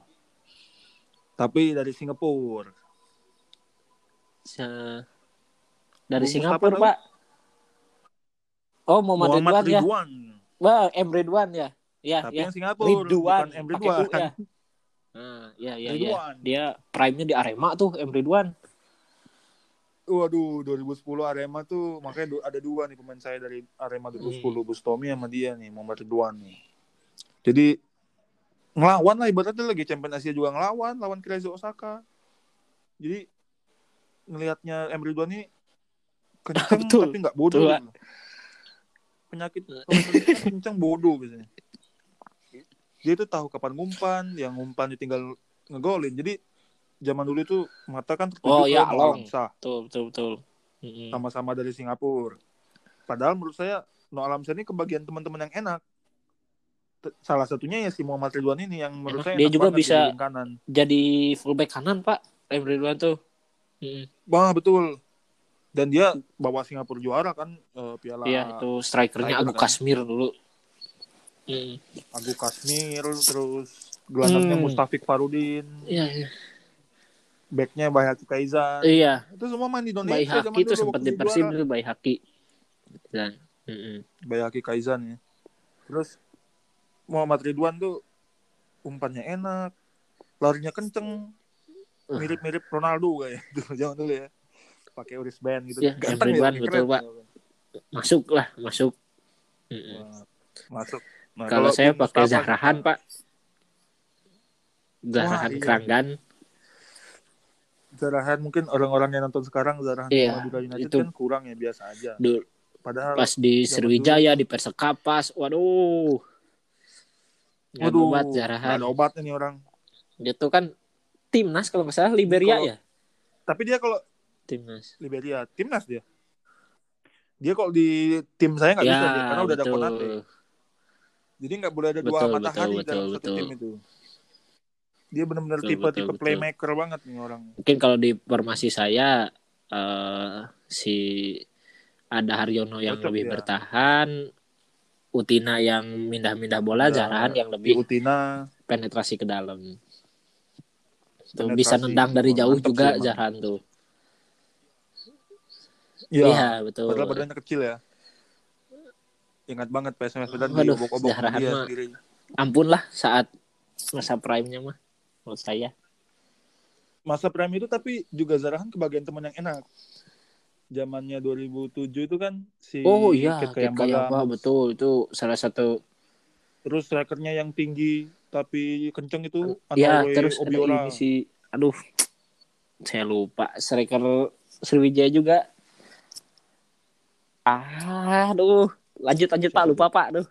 Speaker 1: Tapi dari Singapura.
Speaker 2: Se- Dari
Speaker 1: Bung
Speaker 2: Singapura,
Speaker 1: Mustafa
Speaker 2: Pak. Oh, Muhammad, Ridwan
Speaker 1: Muhammad
Speaker 2: ya.
Speaker 1: Ridwan.
Speaker 2: Wah, M Ridwan ya. Ya,
Speaker 1: Tapi
Speaker 2: ya.
Speaker 1: yang Singapura
Speaker 2: Ridwan,
Speaker 1: bukan M
Speaker 2: pakai
Speaker 1: Ridwan.
Speaker 2: U ya. Nah, ya, ya, ya.
Speaker 1: Ridwan.
Speaker 2: Dia prime-nya di Arema tuh M Ridwan.
Speaker 1: Waduh, 2010 Arema tuh makanya du- ada dua nih pemain saya dari Arema
Speaker 2: Hmm.
Speaker 1: 2010, Bustomi sama dia nih, Muhammad Ridwan nih. Jadi ngelawan lah ibaratnya lagi Champion Asia juga ngelawan lawan Kirazo Osaka. Jadi ngelihatnya Emre Ridwan ini kenceng
Speaker 2: Betul.
Speaker 1: tapi nggak bodoh.
Speaker 2: Betul, Pak.
Speaker 1: gitu. Penyakit kalau penyakit kan kenceng bodoh biasanya. Dia tuh tahu kapan ngumpan, yang ngumpan ditinggal ngegolin. Jadi zaman dulu itu mata kan tertuju
Speaker 2: Oh, ya,
Speaker 1: Mo
Speaker 2: Along.
Speaker 1: Alamsah
Speaker 2: Betul, betul, betul. Mm-mm.
Speaker 1: sama-sama dari Singapura. Padahal menurut saya No Alamsyah ini kebagian teman-teman yang enak. T- Salah satunya ya si Muhammad Ridwan ini yang menurut
Speaker 2: Enak.
Speaker 1: saya
Speaker 2: Dia
Speaker 1: enak
Speaker 2: juga
Speaker 1: banget
Speaker 2: bisa-
Speaker 1: di wing kanan.
Speaker 2: Jadi fullback kanan, Pak. M Ridwan tuh. Mm-mm.
Speaker 1: Wah, betul. Dan dia bawa Singapura juara kan eh, Piala
Speaker 2: Iya, itu strikernya
Speaker 1: striker
Speaker 2: Agung
Speaker 1: kan.
Speaker 2: Kasmir dulu. Mm.
Speaker 1: Agung Kasmir terus gelandangnya
Speaker 2: Hmm.
Speaker 1: Mustafik Farudin,
Speaker 2: Iya, iya.
Speaker 1: backnya Bayhaki Kaizan.
Speaker 2: Iya,
Speaker 1: Nah, Itu semua main di
Speaker 2: Bayi
Speaker 1: Indonesia
Speaker 2: Haki itu sempat
Speaker 1: waktu
Speaker 2: di
Speaker 1: dia
Speaker 2: Persib
Speaker 1: juara.
Speaker 2: dulu Bayi Haki. Dan, Nah, mm-mm.
Speaker 1: Bayhaki Kaizan ya. Terus Muhammad Ridwan tuh umpannya enak, larinya kenceng, mirip-mirip Ronaldo kayak dulu zaman dulu ya. Pakai Uris band gitu.
Speaker 2: Iya,
Speaker 1: Ganteng
Speaker 2: Ridwan,
Speaker 1: tapi
Speaker 2: betul,
Speaker 1: keren.
Speaker 2: Pak. masuk lah, masuk. Mm-mm.
Speaker 1: Wah, Masuk. Nah,
Speaker 2: Kalau saya
Speaker 1: Bung
Speaker 2: pakai
Speaker 1: Mustafa-
Speaker 2: Zahrahan, Pak. Zahrahan
Speaker 1: Wah, iya.
Speaker 2: Keranggan.
Speaker 1: Zarahan mungkin orang-orang yang nonton sekarang Zarahan
Speaker 2: Iya,
Speaker 1: sama Madura United
Speaker 2: itu.
Speaker 1: kan kurang ya biasa aja.
Speaker 2: Dulu,
Speaker 1: Padahal
Speaker 2: pas di
Speaker 1: zaman
Speaker 2: Sriwijaya di Persekapas waduh Gak
Speaker 1: waduh,
Speaker 2: obat
Speaker 1: nggak
Speaker 2: Zarahan
Speaker 1: ada obat ini orang.
Speaker 2: dia tuh kan timnas kalau nggak salah
Speaker 1: Kalau-
Speaker 2: Liberia ya
Speaker 1: Tapi dia kalau
Speaker 2: timnas
Speaker 1: Liberia timnas dia. Dia kalau di tim saya
Speaker 2: Ya,
Speaker 1: nggak bisa dia, karena udah ada Konate. Jadi nggak boleh ada dua
Speaker 2: Betul,
Speaker 1: matahari dalam
Speaker 2: betul, betul,
Speaker 1: satu
Speaker 2: betul.
Speaker 1: tim itu. Dia benar-benar
Speaker 2: Betul,
Speaker 1: tipe
Speaker 2: betul,
Speaker 1: tipe
Speaker 2: betul.
Speaker 1: playmaker banget nih orang.
Speaker 2: mungkin kalau di formasi saya eh si ada Haryono yang
Speaker 1: Cocok
Speaker 2: lebih
Speaker 1: dia.
Speaker 2: bertahan Utina yang mindah-mindah bola,
Speaker 1: Nah,
Speaker 2: Zarahan yang
Speaker 1: Di
Speaker 2: lebih
Speaker 1: Utina
Speaker 2: penetrasi ke dalam. Tuh
Speaker 1: Penetrasi.
Speaker 2: bisa nendang dari
Speaker 1: Wah,
Speaker 2: jauh
Speaker 1: mantap
Speaker 2: juga
Speaker 1: sih emang.
Speaker 2: Zarahan tuh.
Speaker 1: ya,
Speaker 2: Iya, betul.
Speaker 1: padahal badannya kecil ya. Ingat banget PSMS Medan
Speaker 2: Waduh,
Speaker 1: diobok-obok sama
Speaker 2: Zarahan
Speaker 1: dia
Speaker 2: mah.
Speaker 1: sendiri.
Speaker 2: Ampun lah saat masa prime-nya mah menurut saya.
Speaker 1: masa prime itu tapi juga Zarahan kebagian teman yang enak. Zamannya 2007 itu kan si
Speaker 2: Oh iya,
Speaker 1: Kit
Speaker 2: Kit
Speaker 1: Kayambala.
Speaker 2: Kayamba, betul itu salah satu
Speaker 1: Terus strikernya yang tinggi tapi kenceng itu
Speaker 2: ya
Speaker 1: Atawe
Speaker 2: terus ada
Speaker 1: Obiora.
Speaker 2: ini si aduh saya lupa striker Sriwijaya juga aduh lanjut lanjut Pak
Speaker 1: Siapa
Speaker 2: lupa Pak aduh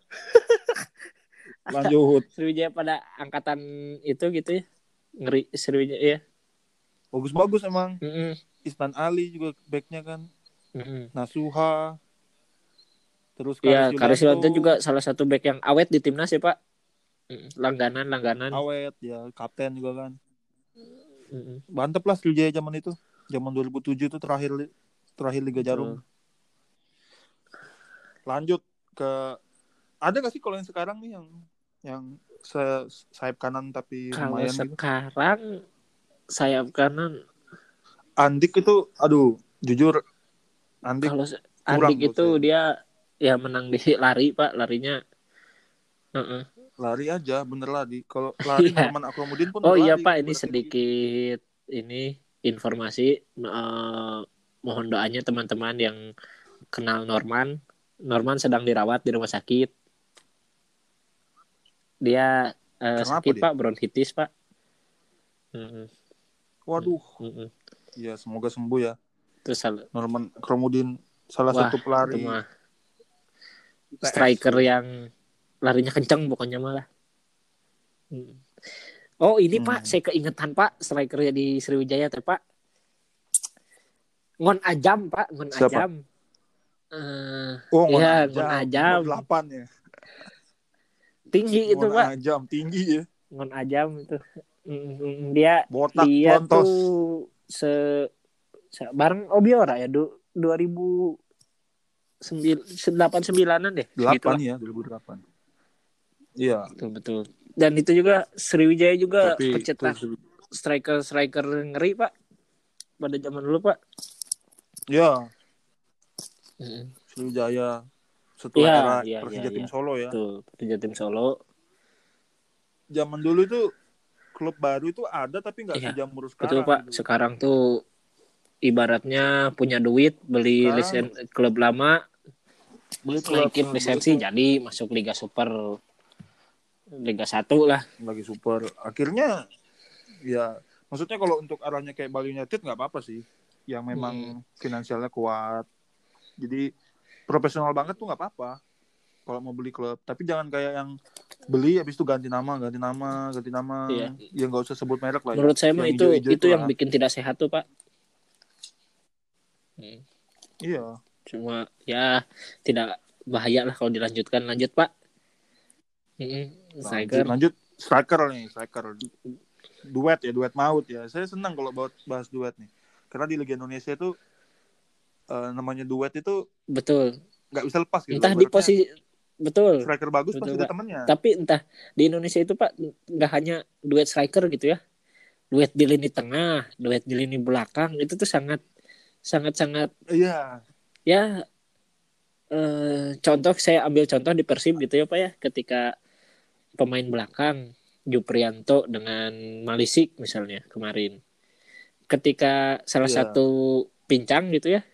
Speaker 1: Lanjut
Speaker 2: Sriwijaya pada angkatan itu gitu ya ngeri Sriwijaya ya
Speaker 1: bagus-bagus emang.
Speaker 2: Mm-mm.
Speaker 1: Istan Ali juga backnya kan.
Speaker 2: Mm-mm.
Speaker 1: Nasuha. Terus
Speaker 2: ya
Speaker 1: Karis
Speaker 2: Karis Yulianto
Speaker 1: Yulianto,
Speaker 2: juga salah satu back yang awet di timnas ya Pak Mm, langganan langganan
Speaker 1: awet ya kapten juga kan.
Speaker 2: Mm-mm.
Speaker 1: Mantep lah Sriwijaya zaman itu. Zaman 2007 itu terakhir li- terakhir Liga Jarum. Lanjut ke ada gak sih kalau yang sekarang nih yang yang se sayap kanan tapi
Speaker 2: kalau
Speaker 1: lumayan gitu?
Speaker 2: sekarang sayap kanan
Speaker 1: Andik itu aduh jujur Andik
Speaker 2: kalau se-
Speaker 1: kurang
Speaker 2: Andik
Speaker 1: menurut
Speaker 2: itu
Speaker 1: saya.
Speaker 2: dia ya menang di lari pak larinya Heeh.
Speaker 1: lari aja bener lari kalau lari
Speaker 2: Iya.
Speaker 1: Norman Akromudin pun
Speaker 2: oh
Speaker 1: berlari,
Speaker 2: iya pak ini
Speaker 1: berarti
Speaker 2: sedikit ini informasi Eh, mohon doanya teman-teman yang kenal Norman Norman sedang dirawat di rumah sakit dia eh,
Speaker 1: Kenapa
Speaker 2: sakit
Speaker 1: dia?
Speaker 2: pak bronkitis pak Mm-mm,
Speaker 1: gitu. waduh
Speaker 2: mm-mm.
Speaker 1: ya semoga sembuh ya
Speaker 2: terus hal-
Speaker 1: Norman Akromudin salah
Speaker 2: Wah,
Speaker 1: satu
Speaker 2: itu
Speaker 1: pelari
Speaker 2: mah
Speaker 1: ITS.
Speaker 2: striker yang larinya kenceng pokoknya malah. Hmm. Oh ini
Speaker 1: Hmm.
Speaker 2: Pak, saya keingetan Pak, strikernya di Sriwijaya teh Pak. Ngon Ajam Pak, Ngon
Speaker 1: Siapa?
Speaker 2: Ajam. Eh,
Speaker 1: oh Ngon
Speaker 2: Iya,
Speaker 1: Ajam,
Speaker 2: Ngon Ajam.
Speaker 1: nomor delapan ya
Speaker 2: tinggi itu
Speaker 1: Ngon
Speaker 2: Pak,
Speaker 1: Ajam tinggi ya
Speaker 2: Ngon Ajam itu. Mm, mm, mm. Dia
Speaker 1: botak
Speaker 2: dia
Speaker 1: lontos
Speaker 2: tuh se, se- bareng Obiora ya du, 2000 an deh. segitu
Speaker 1: delapan ya
Speaker 2: lah.
Speaker 1: 2008 iya
Speaker 2: Betul betul. Dan itu juga Sriwijaya juga
Speaker 1: tapi
Speaker 2: kecetak
Speaker 1: terus-
Speaker 2: striker striker ngeri pak pada zaman dulu pak
Speaker 1: ya Sriwijaya setelah
Speaker 2: Iya,
Speaker 1: era
Speaker 2: iya,
Speaker 1: Persija
Speaker 2: iya,
Speaker 1: Tim
Speaker 2: iya.
Speaker 1: Solo ya
Speaker 2: tuh Persija tim Solo
Speaker 1: zaman dulu itu klub baru itu ada tapi nggak
Speaker 2: Iya,
Speaker 1: sejamur
Speaker 2: betul
Speaker 1: sekarang.
Speaker 2: pak
Speaker 1: gitu.
Speaker 2: sekarang tuh ibaratnya punya duit beli
Speaker 1: Sekarang-
Speaker 2: lisen klub lama
Speaker 1: Beli klub,
Speaker 2: naikin
Speaker 1: beli
Speaker 2: lisensi
Speaker 1: klub.
Speaker 2: jadi masuk Liga Super Liga 1 lah
Speaker 1: lagi super. Akhirnya ya maksudnya kalau untuk arahnya kayak Bali United nggak apa-apa sih. Yang memang
Speaker 2: Hmm.
Speaker 1: finansialnya kuat. Jadi profesional banget tuh nggak apa-apa kalau mau beli klub. Tapi jangan kayak yang beli habis itu ganti nama, ganti nama, ganti nama.
Speaker 2: Iya.
Speaker 1: Ya nggak usah sebut merek lah. ya.
Speaker 2: menurut saya mah
Speaker 1: Yang
Speaker 2: itu
Speaker 1: hijau-hijau
Speaker 2: itu
Speaker 1: itu
Speaker 2: yang
Speaker 1: lah.
Speaker 2: bikin tidak sehat tuh pak Hmm.
Speaker 1: Iya.
Speaker 2: cuma ya tidak bahaya lah kalau dilanjutkan lanjut pak Hmm, Mm-mm.
Speaker 1: Lanjut,
Speaker 2: striker
Speaker 1: lanjut striker nih, striker. Duet ya, duet maut ya. Saya senang kalau bawa- bahas duet nih. Karena di Liga Indonesia itu eh, namanya duet itu
Speaker 2: betul
Speaker 1: nggak bisa lepas gitu.
Speaker 2: entah di
Speaker 1: Ibaratnya
Speaker 2: posisi betul
Speaker 1: striker bagus
Speaker 2: Betul,
Speaker 1: pasti ada
Speaker 2: Pak.
Speaker 1: temennya.
Speaker 2: tapi entah di Indonesia itu pak nggak hanya duet striker gitu ya duet di lini tengah duet di lini belakang itu tuh sangat sangat sangat
Speaker 1: Iya,
Speaker 2: ya eh, contoh saya ambil contoh di Persib gitu ya pak ya ketika pemain belakang Juprianto dengan Malisik misalnya kemarin ketika salah
Speaker 1: Iya.
Speaker 2: satu pincang gitu ya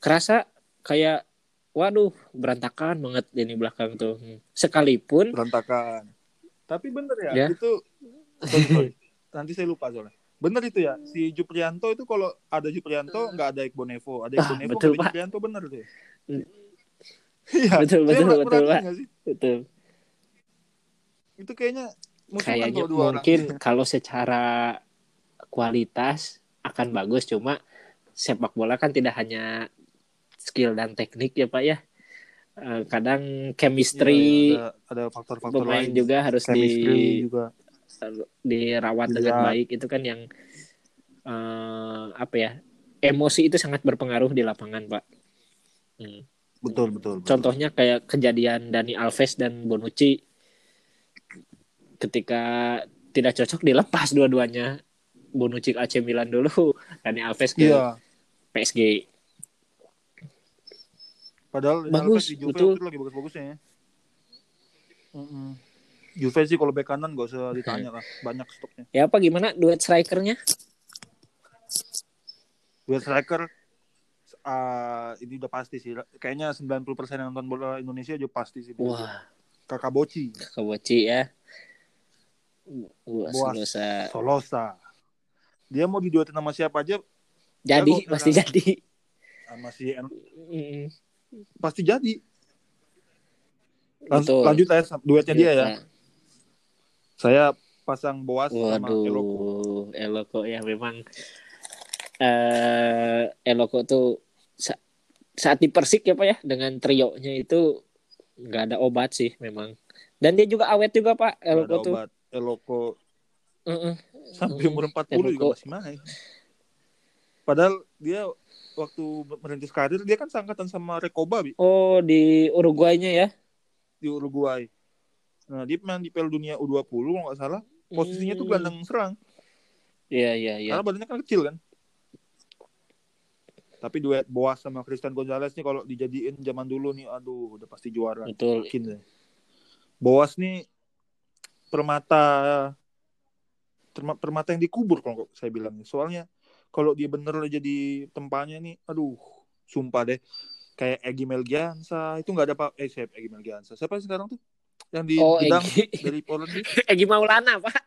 Speaker 2: kerasa kayak waduh berantakan banget ini belakang tuh Hmm. sekalipun
Speaker 1: berantakan. Tapi bener ya,
Speaker 2: Ya.
Speaker 1: itu sorry, sorry. nanti saya lupa soalnya. Bener itu ya, si Juprianto itu kalau ada Juprianto nggak ada Ekbonevo, ada Ekbonevo
Speaker 2: Hmm. betul,
Speaker 1: nggak ada
Speaker 2: Pak.
Speaker 1: Juprianto bener tuh. ya?
Speaker 2: Mm.
Speaker 1: Iya,
Speaker 2: Betul,
Speaker 1: dia mer-
Speaker 2: betul, betul,
Speaker 1: merhatiin
Speaker 2: Pak.
Speaker 1: nggak sih?
Speaker 2: Betul.
Speaker 1: Itu kayaknya musuhan
Speaker 2: Kayaknya
Speaker 1: kan kalau dua orang. Iya, gitu.
Speaker 2: mungkin kalau secara kualitas akan bagus cuma sepak bola kan tidak hanya skill dan teknik ya Pak ya. Eh, Kadang chemistry
Speaker 1: Iya, ada, ada faktor-faktor
Speaker 2: pemain
Speaker 1: lain.
Speaker 2: juga harus di
Speaker 1: Chemistry juga.
Speaker 2: dirawat dengan
Speaker 1: Iya.
Speaker 2: baik itu kan yang eh, apa ya emosi itu sangat berpengaruh di lapangan pak. Hmm.
Speaker 1: Betul, betul. betul.
Speaker 2: Contohnya kayak kejadian Dani Alves dan Bonucci ketika tidak cocok dilepas dua-duanya Bonucci ke AC Milan dulu Dani Alves ke
Speaker 1: Iya,
Speaker 2: PSG.
Speaker 1: padahal Alves
Speaker 2: Bagus,
Speaker 1: di Juve
Speaker 2: betul.
Speaker 1: waktu itu lagi bagus-bagusnya ya. Mm-mm. Juve sih kalau bek kanan gak usah ditanya lah, banyak stoknya.
Speaker 2: Ya apa gimana duet strikernya?
Speaker 1: Dua striker ah, ini udah pasti sih. Kayaknya 90% yang nonton bola Indonesia juga pasti sih.
Speaker 2: Wah,
Speaker 1: Kakak Boci,
Speaker 2: ke Boci ya. Wah,
Speaker 1: Boas.
Speaker 2: Solosa.
Speaker 1: Solosa. Dia mau diduetin sama siapa aja
Speaker 2: Jadi
Speaker 1: Jago,
Speaker 2: pasti
Speaker 1: Kakak.
Speaker 2: jadi.
Speaker 1: sama si En-
Speaker 2: Mm,
Speaker 1: pasti jadi. Lan-
Speaker 2: betul.
Speaker 1: lanjut aja sam- duetnya dia ya.
Speaker 2: Nah,
Speaker 1: Saya pasang Boas sama Eloko.
Speaker 2: Waduh, Eloko ya memang eh Eloko tuh sa- saat di Persik ya Pak ya dengan trionya itu nggak ada obat sih memang. Dan dia juga awet juga Pak
Speaker 1: Nggak
Speaker 2: Eloko
Speaker 1: ada
Speaker 2: tuh.
Speaker 1: obat. Eloko
Speaker 2: Heeh.
Speaker 1: sampai
Speaker 2: Mm-mm.
Speaker 1: umur 40 juga
Speaker 2: Eloko.
Speaker 1: masih main. Padahal dia waktu merintis karir dia kan seangkatan sama Rekoba Bi,
Speaker 2: Oh di Uruguaynya ya.
Speaker 1: di Uruguay. Nah, dia main di Piala Dunia U20 kalau nggak salah. Posisinya tuh
Speaker 2: Hmm.
Speaker 1: gelandang serang.
Speaker 2: Iya iya iya.
Speaker 1: Karena badannya kan kecil kan. Tapi duet Boas sama Christian Gonzalez nih kalau dijadiin zaman dulu nih aduh udah pasti juara.
Speaker 2: Betul.
Speaker 1: Yakin deh. Boas nih permata terma- permata yang dikubur kalau nggak- saya bilang. Soalnya kalau dia bener jadi tempanya nih aduh sumpah deh kayak Egi Melgiansa itu nggak ada pak eh siapa Egi Melgiansa siapa sih sekarang tuh yang di
Speaker 2: Oh
Speaker 1: Gedang
Speaker 2: Egi.
Speaker 1: dari Poland nih?
Speaker 2: Egi Maulana Pak.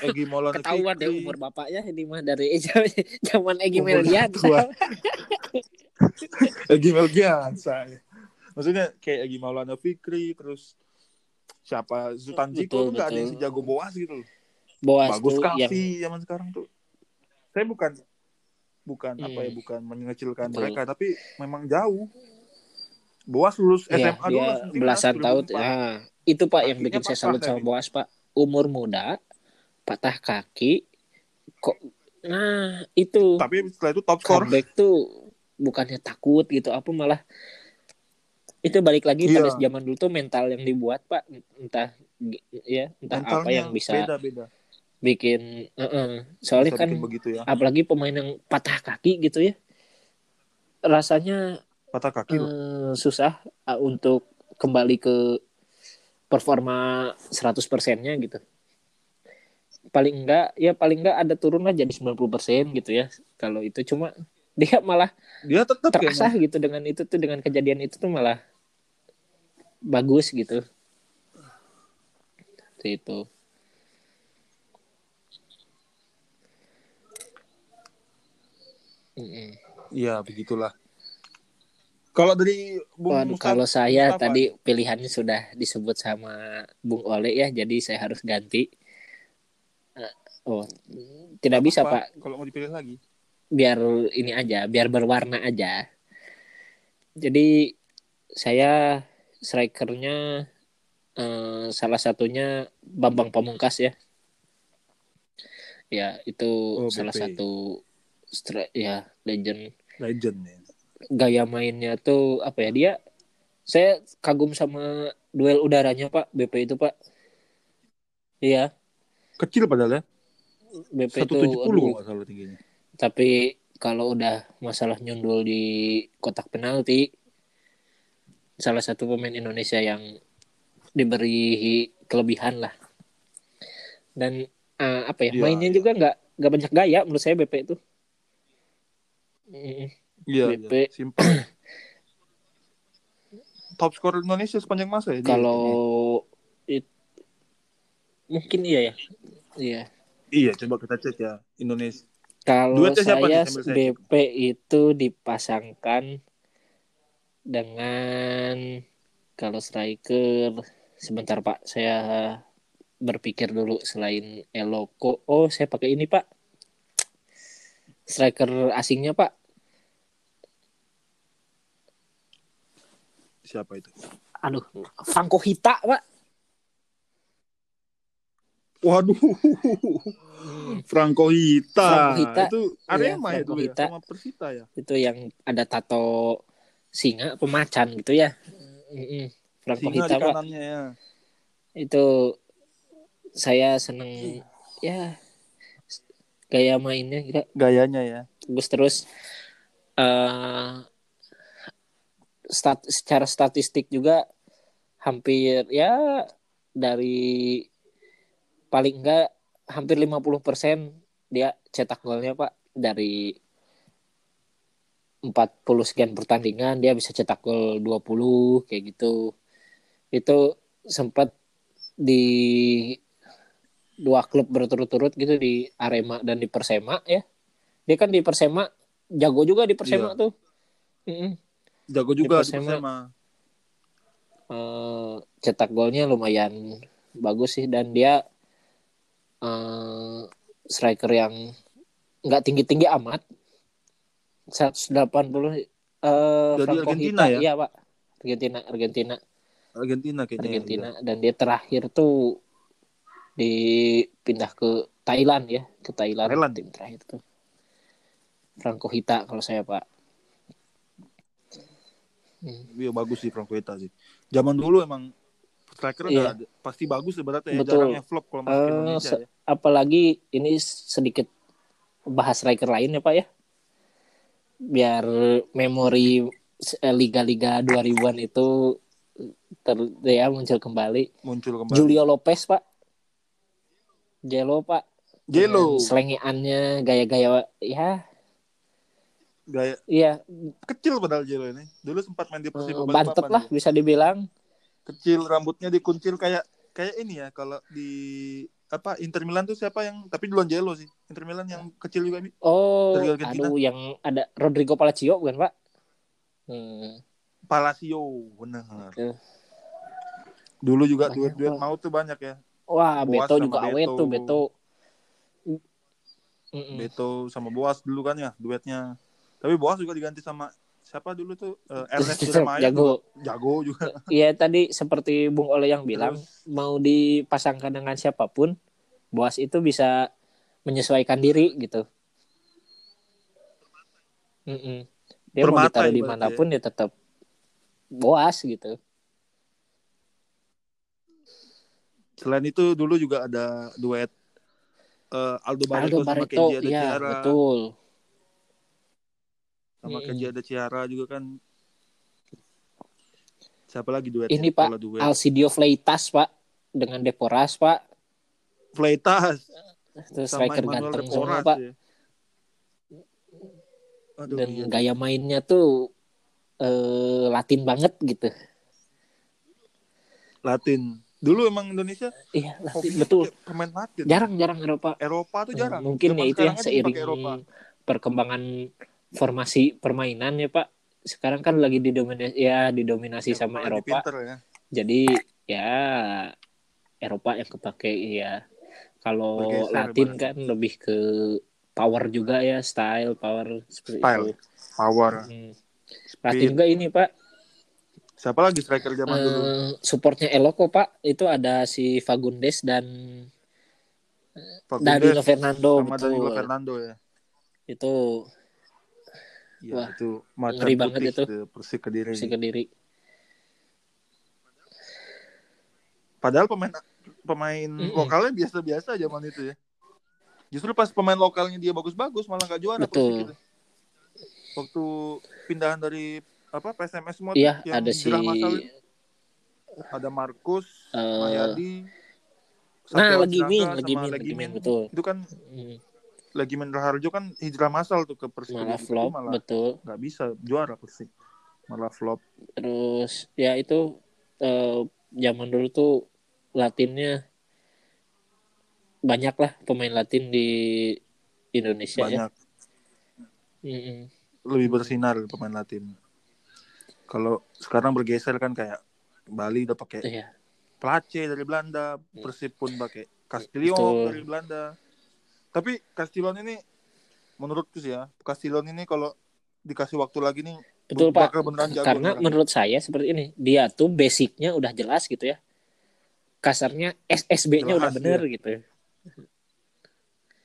Speaker 1: Egi Maulana
Speaker 2: Ketahuan deh
Speaker 1: Fikri.
Speaker 2: umur bapaknya ini mah dari zaman Egi
Speaker 1: Umur
Speaker 2: Melian.
Speaker 1: tua. Egi Melgiansa maksudnya kayak Egi Maulana Fikri terus siapa Sultan Jiko
Speaker 2: Betul,
Speaker 1: tuh nggak ada yang
Speaker 2: betul.
Speaker 1: sejago Boas gitu loh
Speaker 2: Boas
Speaker 1: bagus
Speaker 2: tuh yang
Speaker 1: Kavi zaman sekarang tuh saya bukan bukan
Speaker 2: Hmm.
Speaker 1: apa ya bukan mengecilkan
Speaker 2: Betul.
Speaker 1: mereka tapi memang jauh Boas lulus
Speaker 2: Iya,
Speaker 1: SMA dulu
Speaker 2: dia
Speaker 1: langsung timnas
Speaker 2: belasan tahun.
Speaker 1: 2004.
Speaker 2: Ah, itu Pak yang
Speaker 1: Kakinya
Speaker 2: bikin saya
Speaker 1: patah
Speaker 2: salut sama
Speaker 1: tadi.
Speaker 2: Boas, Pak. Umur muda, patah kaki, kok nah itu
Speaker 1: tapi setelah itu top score
Speaker 2: comeback tuh bukannya takut gitu apa malah itu balik lagi
Speaker 1: Iya.
Speaker 2: pada zaman dulu tuh mental yang dibuat, Pak. Entah gi- ya, entah apa yang bisa
Speaker 1: beda beda
Speaker 2: bikin Heeh. soalnya
Speaker 1: Bisa
Speaker 2: kan
Speaker 1: bikin begitu ya
Speaker 2: apalagi pemain yang patah kaki gitu ya. Rasanya
Speaker 1: patah kaki loh.
Speaker 2: eh, susah eh, untuk kembali ke performa 100%-nya gitu. Paling enggak ya paling enggak ada turun lah jadi 90% gitu ya. Kalau itu cuma dia malah
Speaker 1: dia ya, tetap
Speaker 2: terasa
Speaker 1: kayaknya
Speaker 2: gitu dengan itu tuh dengan kejadian itu tuh malah bagus gitu. Seperti Itu. Mm-mm.
Speaker 1: iya begitulah kalau dari Bung
Speaker 2: Waduh,
Speaker 1: Mustafa-
Speaker 2: kalau saya
Speaker 1: Mustafa
Speaker 2: tadi pilihannya sudah disebut sama Bung Ole ya, jadi saya harus ganti. Eh, Oh, tidak bisa
Speaker 1: apa?
Speaker 2: Pak.
Speaker 1: kalau mau dipilih lagi
Speaker 2: Biar ini aja, biar berwarna aja. Jadi saya strikernya eh, salah satunya Bambang Pamungkas ya. Ya itu
Speaker 1: Oh,
Speaker 2: salah
Speaker 1: BP.
Speaker 2: satu stri- ya legend
Speaker 1: legend ya
Speaker 2: gaya mainnya tuh apa ya dia saya kagum sama duel udaranya pak BP itu pak iya
Speaker 1: kecil padahal ya
Speaker 2: BP
Speaker 1: satu
Speaker 2: itu
Speaker 1: tujuh puluh
Speaker 2: aduh,
Speaker 1: nggak salah tingginya
Speaker 2: tapi kalau udah masalah nyundul di kotak penalti salah satu pemain Indonesia yang diberi kelebihan lah dan eh, apa ya
Speaker 1: Iya,
Speaker 2: mainnya
Speaker 1: iya.
Speaker 2: juga nggak nggak banyak gaya menurut saya BP itu Mm.
Speaker 1: Iya,
Speaker 2: BP.
Speaker 1: iya. simpel. Top skor Indonesia sepanjang masa ya? dia?
Speaker 2: Kalau it- mungkin iya ya. Iya.
Speaker 1: Iya, coba kita cek ya. Indonesia.
Speaker 2: Kalau
Speaker 1: Duetnya siapa
Speaker 2: saya
Speaker 1: nih sambil saya
Speaker 2: BP itu dipasangkan dengan kalau striker sebentar Pak, saya berpikir dulu selain Eloko. Oh, saya pakai ini Pak. Striker asingnya Pak.
Speaker 1: Siapa itu?
Speaker 2: Aduh, Franco Hita Pak.
Speaker 1: Waduh. Franco Hita.
Speaker 2: Franco Hita.
Speaker 1: Itu Arema
Speaker 2: Iya,
Speaker 1: ya itu
Speaker 2: Franco
Speaker 1: ya?
Speaker 2: Hita.
Speaker 1: sama Persita ya.
Speaker 2: Itu yang ada tato singa pemacan gitu ya. Mm-mm. Franco
Speaker 1: Singa
Speaker 2: Hita
Speaker 1: di
Speaker 2: Pak.
Speaker 1: kanannya ya.
Speaker 2: itu saya seneng ya gaya mainnya gila
Speaker 1: Gayanya ya.
Speaker 2: bagus terus eh stat secara statistik juga hampir ya dari paling enggak hampir 50% dia cetak golnya Pak dari 40 sekian pertandingan dia bisa cetak gol 20 kayak gitu. Itu sempat di dua klub berturut-turut gitu di Arema dan di Persema ya. Dia kan di Persema jago juga di Persema tuh. Mm-mm.
Speaker 1: Jago juga di
Speaker 2: Persema.
Speaker 1: Persema.
Speaker 2: eh, cetak golnya lumayan bagus sih dan dia eh, striker yang nggak tinggi-tinggi amat 180 eh
Speaker 1: Dari
Speaker 2: Franco
Speaker 1: Argentina
Speaker 2: Hita,
Speaker 1: ya?
Speaker 2: Iya, Pak. Argentina, Argentina,
Speaker 1: Argentina kayaknya. ya.
Speaker 2: Argentina dan dia terakhir tuh dipindah ke Thailand ya, ke Thailand,
Speaker 1: Thailand.
Speaker 2: tim terakhir tuh. Franco Hita kalau saya, Pak. Hmm.
Speaker 1: Iya bagus sih Franco Hita sih. Zaman dulu emang striker
Speaker 2: Iya.
Speaker 1: nggak ada- pasti bagus ibaratnya ya.
Speaker 2: Betul.
Speaker 1: Jarangnya flop kalau masuk
Speaker 2: Eh,
Speaker 1: Indonesia
Speaker 2: se-
Speaker 1: ya.
Speaker 2: apalagi ini sedikit bahas striker lain ya Pak ya. Biar memori se- eh, liga-liga 2000-an itu ter ya muncul kembali.
Speaker 1: Muncul kembali.
Speaker 2: Julio Lopez, Pak. Jelo, Pak.
Speaker 1: Jelo.
Speaker 2: Dengan Selengeannya, gaya-gaya ya,
Speaker 1: Gaya
Speaker 2: iya
Speaker 1: kecil padahal Jelo ini. Dulu sempat main di Persibo
Speaker 2: eh, bantet
Speaker 1: Balikpapan
Speaker 2: lah
Speaker 1: dia.
Speaker 2: bisa dibilang.
Speaker 1: Kecil rambutnya dikuncil kayak kayak ini ya kalau di apa Inter Milan tuh siapa yang tapi duluan Jelo sih. Inter Milan yang kecil juga Mi.
Speaker 2: Oh,
Speaker 1: Dari Argentina.
Speaker 2: aduh yang ada Rodrigo Palacio bukan, Pak? Hmm.
Speaker 1: Palacio benar.
Speaker 2: Oke.
Speaker 1: Dulu juga
Speaker 2: Banyak,
Speaker 1: duet-duet
Speaker 2: Pak.
Speaker 1: mau tuh banyak ya.
Speaker 2: Wah,
Speaker 1: Boas
Speaker 2: Beto
Speaker 1: sama
Speaker 2: juga awet
Speaker 1: Beto.
Speaker 2: tuh, Beto. Mm-mm.
Speaker 1: Beto sama Boas dulu kan ya duetnya. Tapi Boas juga diganti sama siapa dulu tuh Eh, Ernest Jeremiah
Speaker 2: Jago.
Speaker 1: jago juga.
Speaker 2: Iya tadi seperti Bung Ole yang bilang
Speaker 1: Terus,
Speaker 2: mau dipasangkan dengan siapapun, Boas itu bisa menyesuaikan diri gitu. Mm-mm. Dia mau
Speaker 1: Permata
Speaker 2: ditaruh
Speaker 1: ibaratnya ya.
Speaker 2: dimanapun dia tetap Boas gitu.
Speaker 1: selain itu dulu juga ada duet eh, Aldo Barreto
Speaker 2: Aldo
Speaker 1: sama
Speaker 2: Barreto,
Speaker 1: Kenji ada
Speaker 2: ya
Speaker 1: Ciara
Speaker 2: betul. Hmm.
Speaker 1: sama
Speaker 2: Mm-mm.
Speaker 1: Kenji ada Ciara juga kan. Siapa lagi duetnya?
Speaker 2: Ini, Pak,
Speaker 1: Kalau duet.
Speaker 2: Alcidio Fleitas pak dengan Deporas pak,
Speaker 1: Fleitas
Speaker 2: terus
Speaker 1: sama
Speaker 2: striker
Speaker 1: Emmanuel
Speaker 2: ganteng semua
Speaker 1: Deporas
Speaker 2: pak.
Speaker 1: ya. Aduh,
Speaker 2: dan
Speaker 1: iya.
Speaker 2: gaya mainnya tuh eh, Latin banget gitu.
Speaker 1: Latin. Dulu emang Indonesia
Speaker 2: Iya, Latin
Speaker 1: hobinya
Speaker 2: betul.
Speaker 1: pakai pemain Latin.
Speaker 2: Jarang-jarang Eropa.
Speaker 1: Eropa tuh jarang.
Speaker 2: Mungkin
Speaker 1: Zaman
Speaker 2: ya itu
Speaker 1: sekarang
Speaker 2: yang
Speaker 1: aja dipakai
Speaker 2: seiring
Speaker 1: Eropa.
Speaker 2: perkembangan formasi permainan ya Pak. Sekarang kan lagi didominasi ya didominasi sama
Speaker 1: Eropa lebih
Speaker 2: Eropa.
Speaker 1: pinter ya.
Speaker 2: Jadi ya Eropa yang kepake ya. Kalau
Speaker 1: Bergeser
Speaker 2: Latin
Speaker 1: ibaratnya.
Speaker 2: kan lebih ke power juga ya, style power seperti
Speaker 1: Style. ya.
Speaker 2: itu.
Speaker 1: Power.
Speaker 2: Hmm. Latin juga ini Pak.
Speaker 1: Siapa lagi striker zaman dulu?
Speaker 2: Eh, supportnya Eloko Pak itu ada si Fagundes dan
Speaker 1: Fagundes
Speaker 2: Danilo Fernando
Speaker 1: sama
Speaker 2: betul.
Speaker 1: Danilo Fernando ya.
Speaker 2: itu
Speaker 1: Iya,
Speaker 2: Wah,
Speaker 1: itu macan
Speaker 2: ngeri banget
Speaker 1: putih
Speaker 2: itu.
Speaker 1: itu. Persik Kediri.
Speaker 2: si kediri
Speaker 1: Padahal pemain pemain
Speaker 2: Mm-mm.
Speaker 1: lokalnya biasa-biasa zaman itu ya. Justru pas pemain lokalnya dia bagus-bagus malah nggak juara Persik
Speaker 2: Betul.
Speaker 1: itu. Waktu pindahan dari apa PSMS semua tuh
Speaker 2: iya
Speaker 1: Oh, yang
Speaker 2: ada si
Speaker 1: jerah masal itu. ada Markus,
Speaker 2: Eh,
Speaker 1: Mayadi,
Speaker 2: nah
Speaker 1: Satya
Speaker 2: lagi min
Speaker 1: Wacinaga,
Speaker 2: lagi
Speaker 1: sama
Speaker 2: min lagi min betul
Speaker 1: Itu kan
Speaker 2: Hmm,
Speaker 1: lagi Raharjo kan hijrah masal tuh ke Persik. Kediri.
Speaker 2: malah
Speaker 1: Tapi
Speaker 2: flop
Speaker 1: malah
Speaker 2: betul
Speaker 1: nggak bisa juara Persik. Malah flop.
Speaker 2: terus ya itu eh, zaman dulu tuh latinnya banyak lah pemain Latin di Indonesia ya. Hmm,
Speaker 1: banyak
Speaker 2: Mm-mm.
Speaker 1: lebih bersinar gitu pemain Latin. Kalau sekarang bergeser kan kayak Bali udah pakai
Speaker 2: Iya.
Speaker 1: Place dari Belanda, Persib pun pakai
Speaker 2: Betul.
Speaker 1: Castillon dari Belanda. Tapi Castillon ini menurutku sih ya, Castillon ini kalau dikasih waktu lagi nih
Speaker 2: Betul Pak.
Speaker 1: bakal beneran jago
Speaker 2: Karena
Speaker 1: nih.
Speaker 2: menurut saya seperti ini, dia tuh basicnya udah jelas gitu ya. Kasarnya
Speaker 1: Jelas
Speaker 2: SSB-nya
Speaker 1: iya.
Speaker 2: udah bener gitu.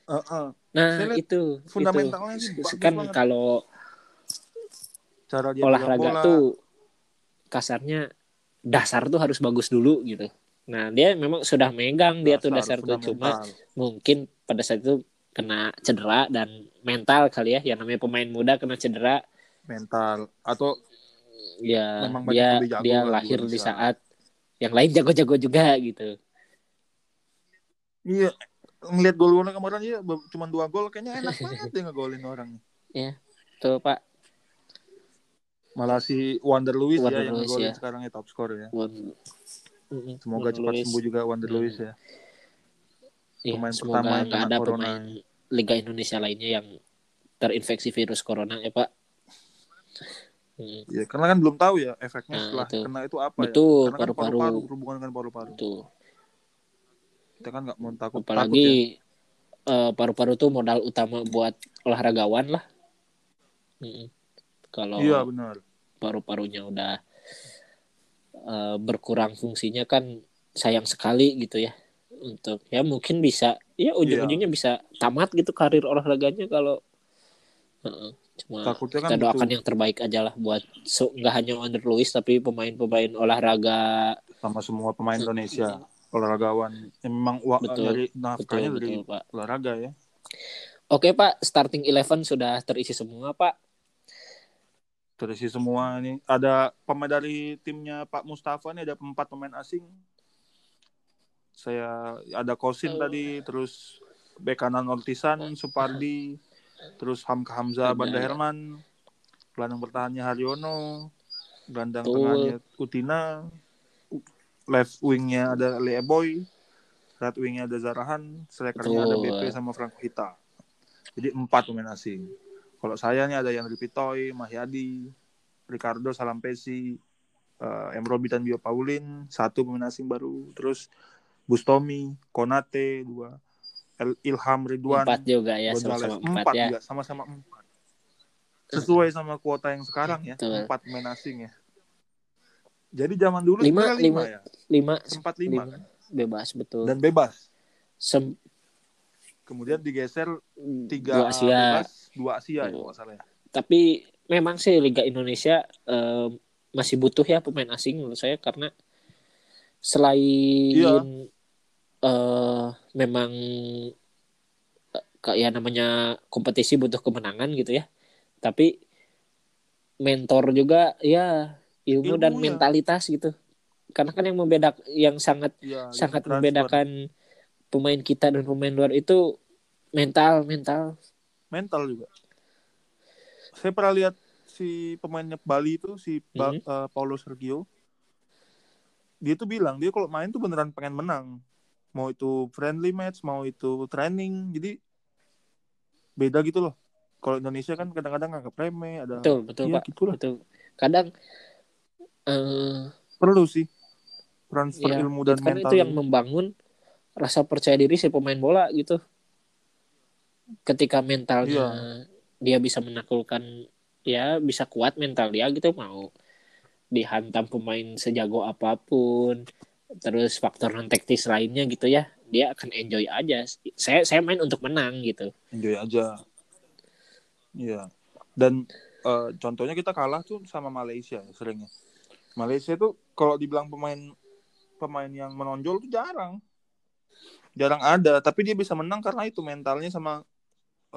Speaker 1: Eh, eh, Saya
Speaker 2: Nah,
Speaker 1: lihat
Speaker 2: itu
Speaker 1: fundamentalnya
Speaker 2: itu.
Speaker 1: sih bagus
Speaker 2: kan
Speaker 1: banget.
Speaker 2: kalau
Speaker 1: cara dia
Speaker 2: olahraga
Speaker 1: pegang bola.
Speaker 2: tuh kasarnya dasar tuh harus bagus dulu gitu. Nah, dia memang sudah megang dia tuh dasar tuh cuma
Speaker 1: fundamental.
Speaker 2: mungkin pada saat itu kena cedera dan mental kali ya yang namanya pemain muda kena cedera
Speaker 1: mental atau
Speaker 2: ya
Speaker 1: Memang banyak yang
Speaker 2: dia
Speaker 1: lebih jago
Speaker 2: dia
Speaker 1: kan
Speaker 2: lahir
Speaker 1: dulu
Speaker 2: di
Speaker 1: di sana.
Speaker 2: saat yang lain jago-jago juga gitu.
Speaker 1: iya ngelihat gol gol kemarin ya cuma dua gol kayaknya enak banget dia ngegolin orang.
Speaker 2: Tuh Pak
Speaker 1: Malah si Wander Luis
Speaker 2: Wander
Speaker 1: ya yang
Speaker 2: Luiz,
Speaker 1: ngegolin
Speaker 2: ya.
Speaker 1: sekarang ya top score ya.
Speaker 2: Wan- Mm-mm,
Speaker 1: Semoga
Speaker 2: Wan
Speaker 1: cepat
Speaker 2: Luiz.
Speaker 1: sembuh juga Wander
Speaker 2: Hmm.
Speaker 1: Luis ya.
Speaker 2: Iya,
Speaker 1: pemain
Speaker 2: semoga
Speaker 1: pertama yang
Speaker 2: nggak
Speaker 1: kena
Speaker 2: ada
Speaker 1: corona.
Speaker 2: pemain Liga Indonesia lainnya yang terinfeksi virus corona ya Pak. Mm,
Speaker 1: Iya, karena kan belum tahu ya efeknya
Speaker 2: Nah,
Speaker 1: setelah
Speaker 2: itu.
Speaker 1: kena itu apa
Speaker 2: Betul,
Speaker 1: ya. Karena kan
Speaker 2: paru-paru.
Speaker 1: paru-paru berhubungan dengan paru-paru.
Speaker 2: Betul.
Speaker 1: Kita kan nggak mau takut takut ya.
Speaker 2: apalagi eh, paru-paru tuh modal utama buat olahragawan lah Mm-mm. kalau
Speaker 1: Iya benar.
Speaker 2: paru-parunya udah eh, berkurang fungsinya kan sayang sekali gitu ya untuk ya mungkin bisa ya ujung-ujungnya
Speaker 1: Iya.
Speaker 2: bisa tamat gitu karir olahraganya kalau Heeh. cuma
Speaker 1: Takutnya kan
Speaker 2: kita doakan
Speaker 1: gitu.
Speaker 2: yang terbaik aja lah buat so, nggak hanya Wander Luis tapi pemain-pemain olahraga
Speaker 1: sama semua pemain Indonesia olahragawan yang memang wa-
Speaker 2: Iya. Betul.
Speaker 1: dari nafkahnya
Speaker 2: betul
Speaker 1: dari
Speaker 2: gitu, betul pak
Speaker 1: olahraga ya.
Speaker 2: oke pak starting eleven sudah terisi semua pak
Speaker 1: Terisi semua ini ada pemain dari timnya Pak Mustafa ini ada empat pemain asing. Saya ada Kosin
Speaker 2: Oh.
Speaker 1: tadi, terus bek kanan Ortisan, Supardi, terus Hamka Hamzah,
Speaker 2: Ada.
Speaker 1: Banda Herman, gelandang bertahannya Haryono, gelandang
Speaker 2: Betul.
Speaker 1: tengahnya Utina, left wingnya ada Leeboy, right wingnya ada Zarahan, strikernya ada
Speaker 2: Betul.
Speaker 1: BP sama Frank Hita. Jadi empat pemain asing. Kalau saya nih ada yang Pitoy, Mahyadi, Ricardo Salampesi, eh, M. Robi dan Bio Paulin, satu pemain asing baru, terus Bustomi, Konate, dua, El- Ilham Ridwan,
Speaker 2: empat juga ya
Speaker 1: Gonzales.
Speaker 2: sama-sama empat, ya
Speaker 1: juga, sama-sama empat. Sesuai sama kuota yang sekarang ya,
Speaker 2: Betul.
Speaker 1: empat pemain asing ya. Jadi zaman dulu
Speaker 2: Lima,
Speaker 1: sebenarnya
Speaker 2: lima.
Speaker 1: ya,
Speaker 2: lima
Speaker 1: sempat lima,
Speaker 2: Lima.
Speaker 1: kan?
Speaker 2: bebas betul
Speaker 1: dan bebas.
Speaker 2: Sem-
Speaker 1: Kemudian digeser tiga
Speaker 2: dua Asia Iya.
Speaker 1: bebas, dua Asia ya, kalau nggak salah ya.
Speaker 2: tapi memang sih Liga Indonesia eh, masih butuh ya pemain asing menurut saya karena selain
Speaker 1: Iya.
Speaker 2: eh, memang eh, kayak namanya kompetisi butuh kemenangan gitu ya tapi mentor juga ya ilmu,
Speaker 1: Ilmu,
Speaker 2: dan
Speaker 1: ya.
Speaker 2: mentalitas gitu karena kan yang membedak yang sangat
Speaker 1: Iya,
Speaker 2: sangat
Speaker 1: transfer.
Speaker 2: membedakan pemain kita dan pemain luar itu mental mental
Speaker 1: mental juga. Saya pernah lihat si pemainnya Bali itu si Ba-
Speaker 2: Mhm.
Speaker 1: eh, Paulo Sergio. Dia tuh bilang dia kalau main tuh beneran pengen menang. Mau itu friendly match, mau itu training. Jadi beda gitu loh. Kalau Indonesia kan kadang-kadang nganggap remeh, ada
Speaker 2: betul betul
Speaker 1: Iya,
Speaker 2: pak
Speaker 1: gitulah.
Speaker 2: betul Gitu. kadang eh,
Speaker 1: Perlu sih transfer
Speaker 2: ya,
Speaker 1: ilmu dan
Speaker 2: karena
Speaker 1: mental.
Speaker 2: itu yang membangun rasa percaya diri si pemain bola gitu ketika mentalnya dia bisa menaklukkan ya bisa kuat mental dia gitu mau dihantam pemain sejago apapun terus faktor non teknis lainnya gitu ya dia akan enjoy aja saya saya main untuk menang gitu
Speaker 1: enjoy aja. Iya. Dan eh, contohnya kita kalah tuh sama Malaysia ya, seringnya. Malaysia tuh kalau dibilang pemain pemain yang menonjol tuh jarang. Jarang ada, tapi dia bisa menang karena itu mentalnya sama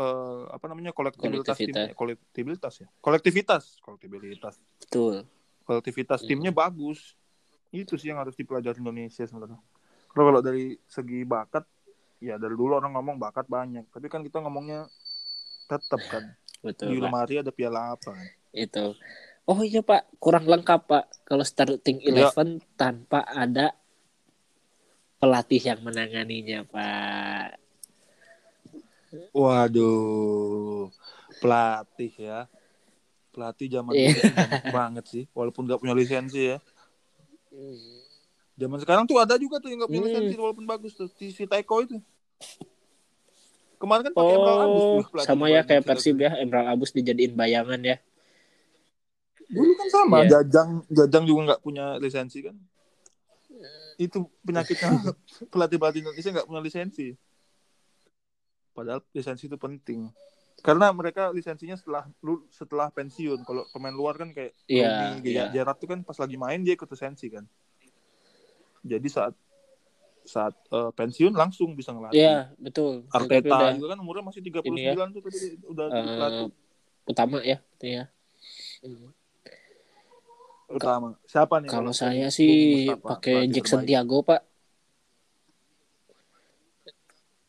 Speaker 1: eh, apa namanya kolektivitas timnya, kolektivitas ya. Kolektivitas, kolektivitas.
Speaker 2: betul
Speaker 1: Kolektivitas
Speaker 2: Hmm.
Speaker 1: timnya bagus. Itu sih yang harus dipelajari Indonesia sebenarnya. Kalau kalau dari segi bakat ya dari dulu orang ngomong bakat banyak, tapi kan kita ngomongnya tetap kan
Speaker 2: betul
Speaker 1: di
Speaker 2: Pak.
Speaker 1: lemari ada piala apa?
Speaker 2: itu oh iya pak kurang lengkap pak kalau starting
Speaker 1: Iya.
Speaker 2: eleven tanpa ada pelatih yang menanganinya Pak?
Speaker 1: Waduh, pelatih ya. Pelatih zaman dulu
Speaker 2: Iya.
Speaker 1: banyak banget sih, walaupun nggak punya lisensi ya. Zaman sekarang tuh ada juga tuh yang nggak punya
Speaker 2: Hmm.
Speaker 1: lisensi walaupun bagus tuh, si, si Taeko itu. Kemarin kan pakai Emerald Abus
Speaker 2: Oh,
Speaker 1: tuh pelatih
Speaker 2: sama ya
Speaker 1: banyak
Speaker 2: kayak
Speaker 1: kita.
Speaker 2: Persib ya, Emerald Abus dijadiin bayangan ya.
Speaker 1: Dulu kan sama,
Speaker 2: Iya.
Speaker 1: Jajang Jajang juga nggak punya lisensi kan. Itu penyakitnya pelatih-pelatih Indonesia nggak punya lisensi. Padahal lisensi itu penting. Karena mereka lisensinya setelah lu- setelah pensiun. Kalau pemain luar kan kayak
Speaker 2: Iya,
Speaker 1: Rooney,
Speaker 2: iya.
Speaker 1: Gerrard tuh kan pas lagi main dia ikut lisensi kan. Jadi saat saat eh, pensiun langsung bisa ngelatih.
Speaker 2: Iya, betul. Tapi
Speaker 1: Arteta
Speaker 2: udah, eh,
Speaker 1: juga kan umurnya masih 39
Speaker 2: ini ya.
Speaker 1: tuh tadi udah
Speaker 2: eh,
Speaker 1: jadi pelatih Iya.
Speaker 2: utama ya, gitu ya.
Speaker 1: utama. Siapa nih?
Speaker 2: Kalau
Speaker 1: misalnya
Speaker 2: saya
Speaker 1: Bung
Speaker 2: sih
Speaker 1: Mustafa,
Speaker 2: pakai
Speaker 1: pelatih
Speaker 2: Jackson
Speaker 1: terbaik?
Speaker 2: Tiago, Pak.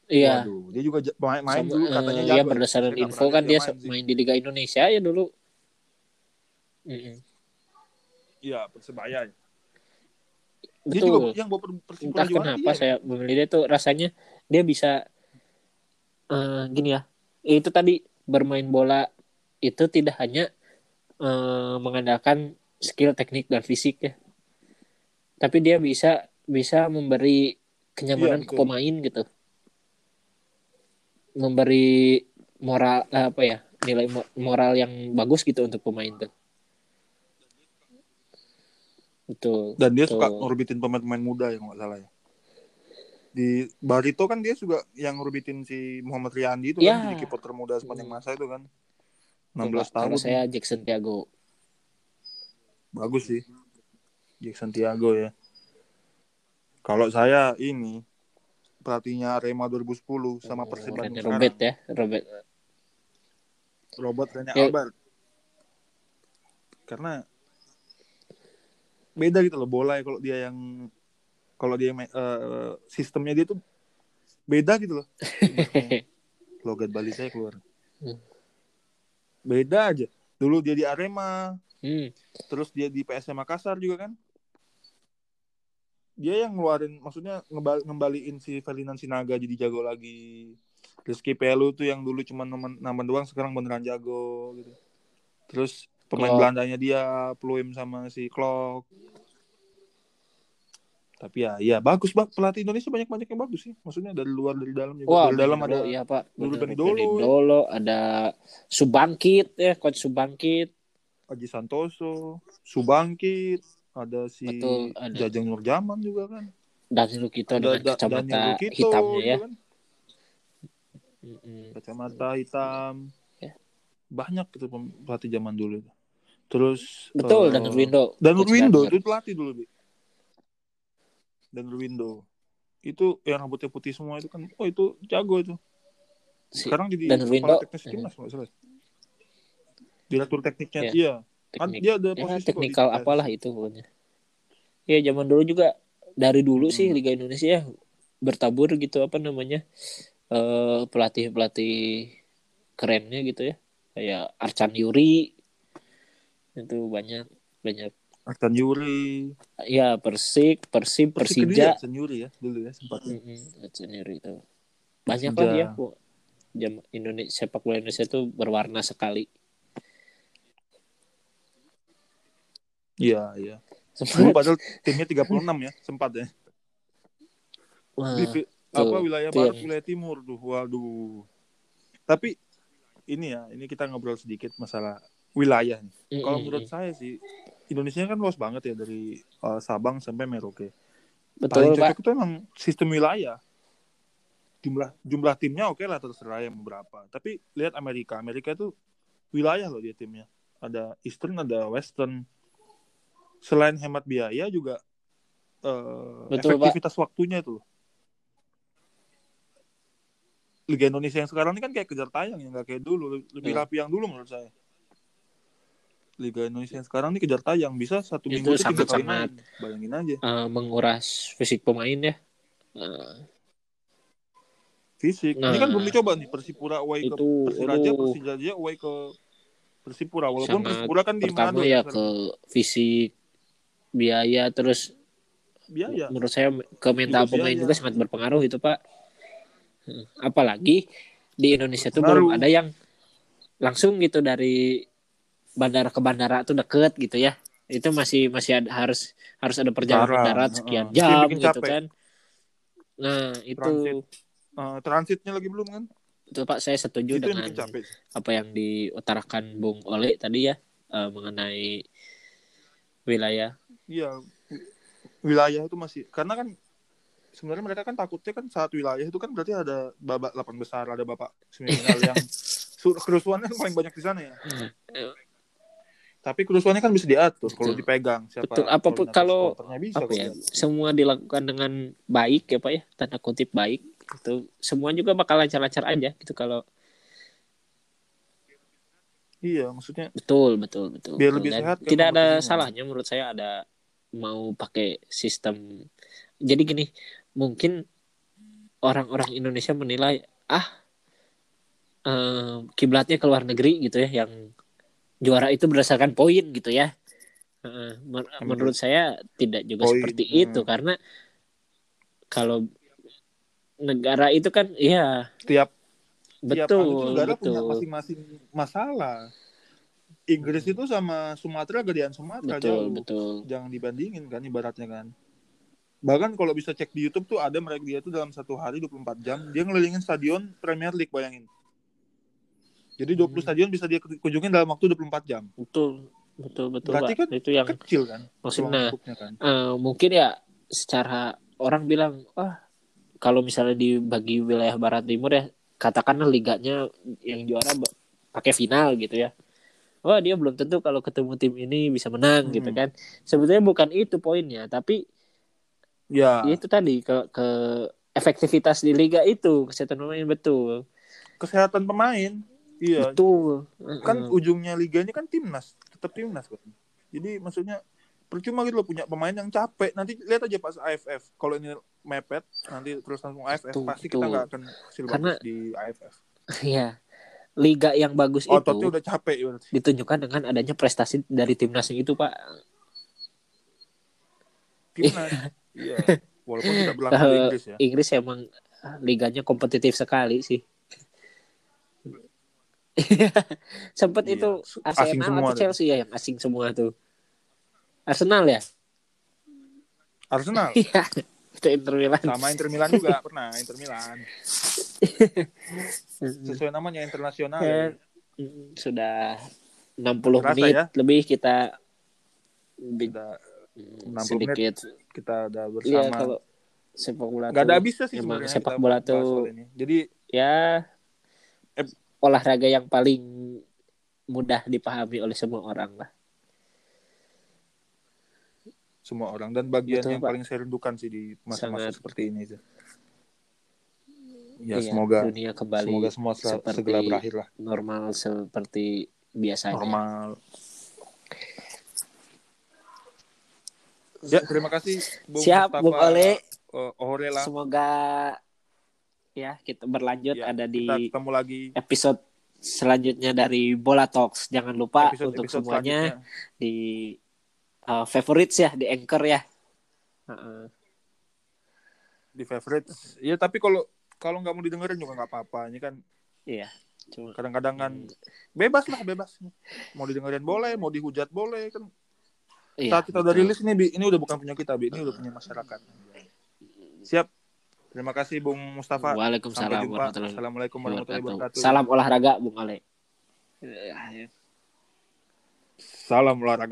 Speaker 2: Iya.
Speaker 1: Waduh, dia juga ja- main, main
Speaker 2: Sama,
Speaker 1: dulu katanya
Speaker 2: eh,
Speaker 1: jago.
Speaker 2: ya berdasarkan
Speaker 1: Saya nggak
Speaker 2: info
Speaker 1: pernah
Speaker 2: kan
Speaker 1: lihat
Speaker 2: dia
Speaker 1: main sih.
Speaker 2: main di Liga Indonesia ya dulu. Mm-mm.
Speaker 1: Iya, Persebaya. ya. Dia juga
Speaker 2: Betul.
Speaker 1: yang bawa per- Persipura
Speaker 2: Entah
Speaker 1: juga
Speaker 2: kenapa
Speaker 1: dia.
Speaker 2: saya memilih dia tuh rasanya dia bisa eh, gini ya. Itu tadi bermain bola itu tidak hanya eh, mengandalkan skill teknik dan fisik ya. Tapi dia bisa bisa memberi kenyamanan
Speaker 1: Iya,
Speaker 2: ke
Speaker 1: betul.
Speaker 2: pemain gitu. Memberi moral eh, apa ya? nilai mo- moral yang bagus gitu untuk pemain tuh. Betul.
Speaker 1: Dan dia
Speaker 2: Betul.
Speaker 1: suka ngorbitin pemain-pemain muda yang nggak salah ya. Di Barito kan dia juga yang ngorbitin si Muhammad Riyandi itu
Speaker 2: Ya.
Speaker 1: kan jadi kiper termuda sepanjang masa itu kan. 16
Speaker 2: Coba,
Speaker 1: tahun.
Speaker 2: Kalau Iya, saya Jackson Tiago.
Speaker 1: Bagus sih. Jackson Tiago ya. Kalau saya ini pelatihnya Arema 2010 sama Persib
Speaker 2: Bukan
Speaker 1: Bandung
Speaker 2: Oh, Robert
Speaker 1: sekarang.
Speaker 2: ya, Robert.
Speaker 1: Robert Rene
Speaker 2: Ya.
Speaker 1: Albert. Karena beda gitu loh bola ya kalau dia yang kalau dia main- eh, sistemnya dia tuh beda gitu loh. Logat Bali saya keluar.
Speaker 2: Hmm.
Speaker 1: Beda aja. Dulu dia di Arema,
Speaker 2: Hmm,
Speaker 1: terus dia di PSM Makassar juga kan. Dia yang ngeluarin maksudnya ngebal- ngembaliin si Ferdinand Sinaga jadi jago lagi. Rizky Pelu tuh yang dulu cuma nemen- nama doang sekarang beneran jago gitu. Terus pemain
Speaker 2: Klok.
Speaker 1: Belandanya dia Pluim sama si Klok. Tapi ya ya bagus bak pelatih Indonesia banyak-banyak yang bagus sih. Maksudnya dari luar dari dalam juga.
Speaker 2: Wah,
Speaker 1: dari dalam ada
Speaker 2: Benidolo, ya Pak.
Speaker 1: Dulu
Speaker 2: Bener,
Speaker 1: Benidolo.
Speaker 2: Benidolo, ada Subangkit ya, coach Subangkit.
Speaker 1: Aji Santoso, Subangkit, ada si
Speaker 2: Betul, ada.
Speaker 1: Jajang Nurjaman juga kan.
Speaker 2: Danilo Kito dengan
Speaker 1: Da-
Speaker 2: kacamata
Speaker 1: Daniel Lukito
Speaker 2: hitamnya
Speaker 1: gitu
Speaker 2: ya.
Speaker 1: kan.
Speaker 2: Mm-mm.
Speaker 1: Kacamata hitam.
Speaker 2: Ya.
Speaker 1: Banyak itu pem- pelatih zaman dulu. Terus
Speaker 2: Betul,
Speaker 1: eh,
Speaker 2: dan Ruindo. Iya,
Speaker 1: Dan
Speaker 2: Coach
Speaker 1: Ruindo
Speaker 2: Daniel.
Speaker 1: itu pelatih dulu, Bi. Dan Ruindo. Itu yang rambutnya putih semua itu kan. Oh, itu jago itu.
Speaker 2: Si-
Speaker 1: Sekarang jadi
Speaker 2: Dan Ruindo,
Speaker 1: kepala teknis timnas nggak salah. Direktur tekniknya
Speaker 2: Iya.
Speaker 1: dia. Kan
Speaker 2: teknik,
Speaker 1: dia ada
Speaker 2: ya,
Speaker 1: posisi kok di
Speaker 2: teknikal
Speaker 1: PSSI.
Speaker 2: apalah itu pokoknya. Ya, zaman dulu juga dari dulu
Speaker 1: Hmm.
Speaker 2: sih Liga Indonesia ya bertabur gitu apa namanya? eh, pelatih-pelatih kerennya gitu ya. Kayak Arcan Yuri itu banyak banyak
Speaker 1: Aktan Yuri.
Speaker 2: ya Persik, Persib,
Speaker 1: Persik
Speaker 2: Persija.
Speaker 1: Kediri ya, Aktan Yuri ya dulu ya sempat.
Speaker 2: Mm-mm, Arcan Yuri itu. Banyak
Speaker 1: Persija.
Speaker 2: lah ya Bu. Jam Indonesia sepak bola Indonesia itu berwarna sekali.
Speaker 1: Iya, iya. Dulu
Speaker 2: Sempat-
Speaker 1: padahal timnya 36 ya, sempat ya.
Speaker 2: Wah,
Speaker 1: Di vi- apa wilayah
Speaker 2: itu
Speaker 1: barat,
Speaker 2: yang-
Speaker 1: wilayah timur tuh. Waduh. Tapi ini ya, ini kita ngobrol sedikit masalah wilayah nih.
Speaker 2: mm-mm.
Speaker 1: Kalau menurut saya sih Indonesia kan luas banget ya dari uh, Sabang sampai Merauke.
Speaker 2: betul
Speaker 1: Paling
Speaker 2: Pak.
Speaker 1: cocok itu emang sistem wilayah. Jumlah jumlah timnya oke lah terserah yang berapa. Tapi lihat Amerika, Amerika itu wilayah loh dia timnya. Ada Eastern, ada Western. Selain hemat biaya juga eh,
Speaker 2: Betul, Pak.
Speaker 1: efektivitas waktunya itu. loh. Liga Indonesia yang sekarang ini kan kayak kejar tayang ya nggak kayak dulu lebih
Speaker 2: Iya.
Speaker 1: rapi yang dulu menurut saya. Liga Indonesia yang sekarang ini kejar tayang bisa satu
Speaker 2: Itu
Speaker 1: minggu itu tiga kali
Speaker 2: sangat-sangat-
Speaker 1: main. Bayangin aja
Speaker 2: Eh, menguras fisik pemain ya. Eh,
Speaker 1: fisik. ini
Speaker 2: Nah.
Speaker 1: kan belum dicoba nih Persipura away ke
Speaker 2: itu
Speaker 1: Iya, Persiraja,
Speaker 2: aduh.
Speaker 1: Persiraja away ke Persipura. Walaupun
Speaker 2: Sangat ya
Speaker 1: Persipura kan di
Speaker 2: pertama
Speaker 1: Manado
Speaker 2: ya
Speaker 1: sekarang.
Speaker 2: ke fisik biaya terus
Speaker 1: biaya.
Speaker 2: menurut saya ke mental
Speaker 1: Juga
Speaker 2: pemain
Speaker 1: Iya, biaya.
Speaker 2: juga sangat berpengaruh itu pak Hmm. apalagi di Indonesia tuh
Speaker 1: Pengaruh.
Speaker 2: belum ada yang langsung gitu dari bandara ke bandara tuh deket gitu ya itu masih masih ada, harus harus ada perjalanan
Speaker 1: Parah,
Speaker 2: darat
Speaker 1: heeh.
Speaker 2: sekian
Speaker 1: Itu yang
Speaker 2: jam
Speaker 1: bikin
Speaker 2: gitu
Speaker 1: capek.
Speaker 2: kan nah itu
Speaker 1: Transit. Eh, transitnya lagi belum kan?
Speaker 2: itu pak saya setuju
Speaker 1: itu yang bikin
Speaker 2: dengan
Speaker 1: capek.
Speaker 2: apa yang diutarakan Bung Ole tadi ya eh, mengenai wilayah
Speaker 1: Iya. Wilayah itu masih karena kan sebenarnya mereka kan takutnya kan saat wilayah itu kan berarti ada babak delapan besar, ada babak semifinal yang su- kerusuhannya kan paling banyak di sana ya.
Speaker 2: Hmm.
Speaker 1: Tapi kerusuhannya kan bisa diatur kalau
Speaker 2: Betul.
Speaker 1: dipegang siapa.
Speaker 2: Betul. Apapun-
Speaker 1: koordinator
Speaker 2: kalau-
Speaker 1: supporternya bisa
Speaker 2: apa
Speaker 1: kan.
Speaker 2: ya semua dilakukan dengan baik ya pak ya tanda kutip baik itu semua juga bakal lancar-lancar aja gitu kalau
Speaker 1: Iya, maksudnya
Speaker 2: betul betul betul
Speaker 1: Biar
Speaker 2: betul.
Speaker 1: lebih
Speaker 2: Dan
Speaker 1: sehat kan
Speaker 2: tidak ada
Speaker 1: kompetisinya.
Speaker 2: salahnya menurut saya ada mau pakai sistem jadi gini mungkin orang-orang Indonesia menilai ah eh, kiblatnya ke luar negeri gitu ya yang juara itu berdasarkan poin gitu ya Heeh. Men-
Speaker 1: Yang
Speaker 2: menurut saya tidak juga
Speaker 1: Hmm. poin,
Speaker 2: seperti
Speaker 1: hmm.
Speaker 2: itu karena kalau negara itu kan iya
Speaker 1: tiap tiap anu itu
Speaker 2: betul
Speaker 1: negara punya
Speaker 2: betul
Speaker 1: masing-masing masalah. Inggris itu sama Sumatera gedean Sumatera
Speaker 2: Hmm. betul
Speaker 1: jauh.
Speaker 2: betul
Speaker 1: jangan dibandingin kan ibaratnya kan. Bahkan kalau bisa cek di YouTube tuh ada mereka dia tuh dalam satu hari 24 jam dia ngelilingin stadion Premier League bayangin. Jadi 20
Speaker 2: Hmm.
Speaker 1: stadion bisa dia kunjungin dalam waktu 24 jam.
Speaker 2: betul betul betul
Speaker 1: Berarti
Speaker 2: Pak. itu yang
Speaker 1: Kecil kan
Speaker 2: maksudnya
Speaker 1: lingkupnya kan.
Speaker 2: eh, mungkin ya secara orang bilang wah kalau misalnya dibagi wilayah barat timur ya katakanlah liganya yang juara ba- pakai final gitu ya wah dia belum tentu kalau ketemu tim ini bisa menang gitu
Speaker 1: Hmm.
Speaker 2: kan sebetulnya bukan itu poinnya tapi
Speaker 1: Ya,
Speaker 2: ya itu tadi ke ke efektivitas di liga itu kesehatan pemain betul
Speaker 1: kesehatan pemain. Iya.
Speaker 2: betul
Speaker 1: Kan
Speaker 2: Mm-mm.
Speaker 1: ujungnya liganya kan timnas, tetap timnas kan. Jadi maksudnya percuma gitu loh punya pemain yang capek. Nanti lihat aja pas AFF. Kalau ini mepet nanti terus langsung AFF
Speaker 2: Betul,
Speaker 1: pasti kita
Speaker 2: betul.
Speaker 1: nggak akan hasil
Speaker 2: Karena-
Speaker 1: bagus di AFF.
Speaker 2: Iya. liga yang bagus itu
Speaker 1: Ototnya Oh, udah capek iya. ibaratnya.
Speaker 2: ditunjukkan dengan adanya prestasi dari timnasnya itu pak
Speaker 1: timnas. iya. Walaupun tidak berlaku di
Speaker 2: Eh,
Speaker 1: Inggris ya.
Speaker 2: Inggris emang ah, liganya kompetitif sekali sih sempet
Speaker 1: Iya.
Speaker 2: itu Arsenal
Speaker 1: Asing semua
Speaker 2: atau
Speaker 1: tuh.
Speaker 2: Chelsea ya yang asing semua tuh Arsenal ya
Speaker 1: Arsenal
Speaker 2: Iya. itu Inter Milan
Speaker 1: sama Inter Milan juga pernah Inter Milan. Sesuai namanya internasional.
Speaker 2: Ya, mm, sudah 60
Speaker 1: Terasa
Speaker 2: menit
Speaker 1: ya.
Speaker 2: lebih kita bi-
Speaker 1: Kita
Speaker 2: mm,
Speaker 1: 60
Speaker 2: sedikit
Speaker 1: kita ada
Speaker 2: ya
Speaker 1: bersama.
Speaker 2: kalau sepak bola
Speaker 1: Gak ada
Speaker 2: tuh
Speaker 1: habisnya sih
Speaker 2: emang
Speaker 1: sebenarnya
Speaker 2: sepak
Speaker 1: kita
Speaker 2: bola
Speaker 1: bahas
Speaker 2: tuh-
Speaker 1: soal ini. Jadi
Speaker 2: ya
Speaker 1: Eh.
Speaker 2: olahraga yang paling mudah dipahami oleh semua orang lah.
Speaker 1: semua orang dan bagian
Speaker 2: Betul,
Speaker 1: yang
Speaker 2: Pak.
Speaker 1: paling saya rindukan sih di masa-masa
Speaker 2: Sangat.
Speaker 1: seperti ini. sih. Ya
Speaker 2: Iya,
Speaker 1: semoga
Speaker 2: dunia kembali
Speaker 1: semoga semua se-
Speaker 2: seperti
Speaker 1: segera berakhir lah
Speaker 2: normal seperti biasanya.
Speaker 1: normal. Ya terima kasih Bung
Speaker 2: Siap,
Speaker 1: Mustafa,
Speaker 2: Bung Ole.
Speaker 1: eh, Orela.
Speaker 2: Semoga ya kita berlanjut
Speaker 1: Ya,
Speaker 2: ada
Speaker 1: Kita
Speaker 2: di
Speaker 1: ketemu lagi
Speaker 2: episode selanjutnya dari Bola Talks. Jangan lupa untuk
Speaker 1: episode-episode
Speaker 2: semuanya
Speaker 1: selanjutnya.
Speaker 2: di uh, favorites ya, di anchor ya. Heeh.
Speaker 1: di favorites. Ya tapi kalau kalau nggak mau didengerin juga nggak apa-apa. Ini kan
Speaker 2: Iya. Cuma-
Speaker 1: kadang-kadang kan
Speaker 2: Iya.
Speaker 1: bebas lah bebas. Mau didengerin boleh, mau dihujat boleh kan.
Speaker 2: Iya,
Speaker 1: Saat kita udah
Speaker 2: betul.
Speaker 1: rilis ini Bi, ini udah bukan punya kita Bi, ini udah punya masyarakat. Siap. Terima kasih Bung Mustafa. Sampai
Speaker 2: Waalaikumsalam
Speaker 1: jumpa.
Speaker 2: warahmatullahi
Speaker 1: Assalamualaikum warahmatullahi wabarakatuh. Iya,
Speaker 2: Salam olahraga, Bung Ale. Ya, ya.
Speaker 1: Salam olahraga.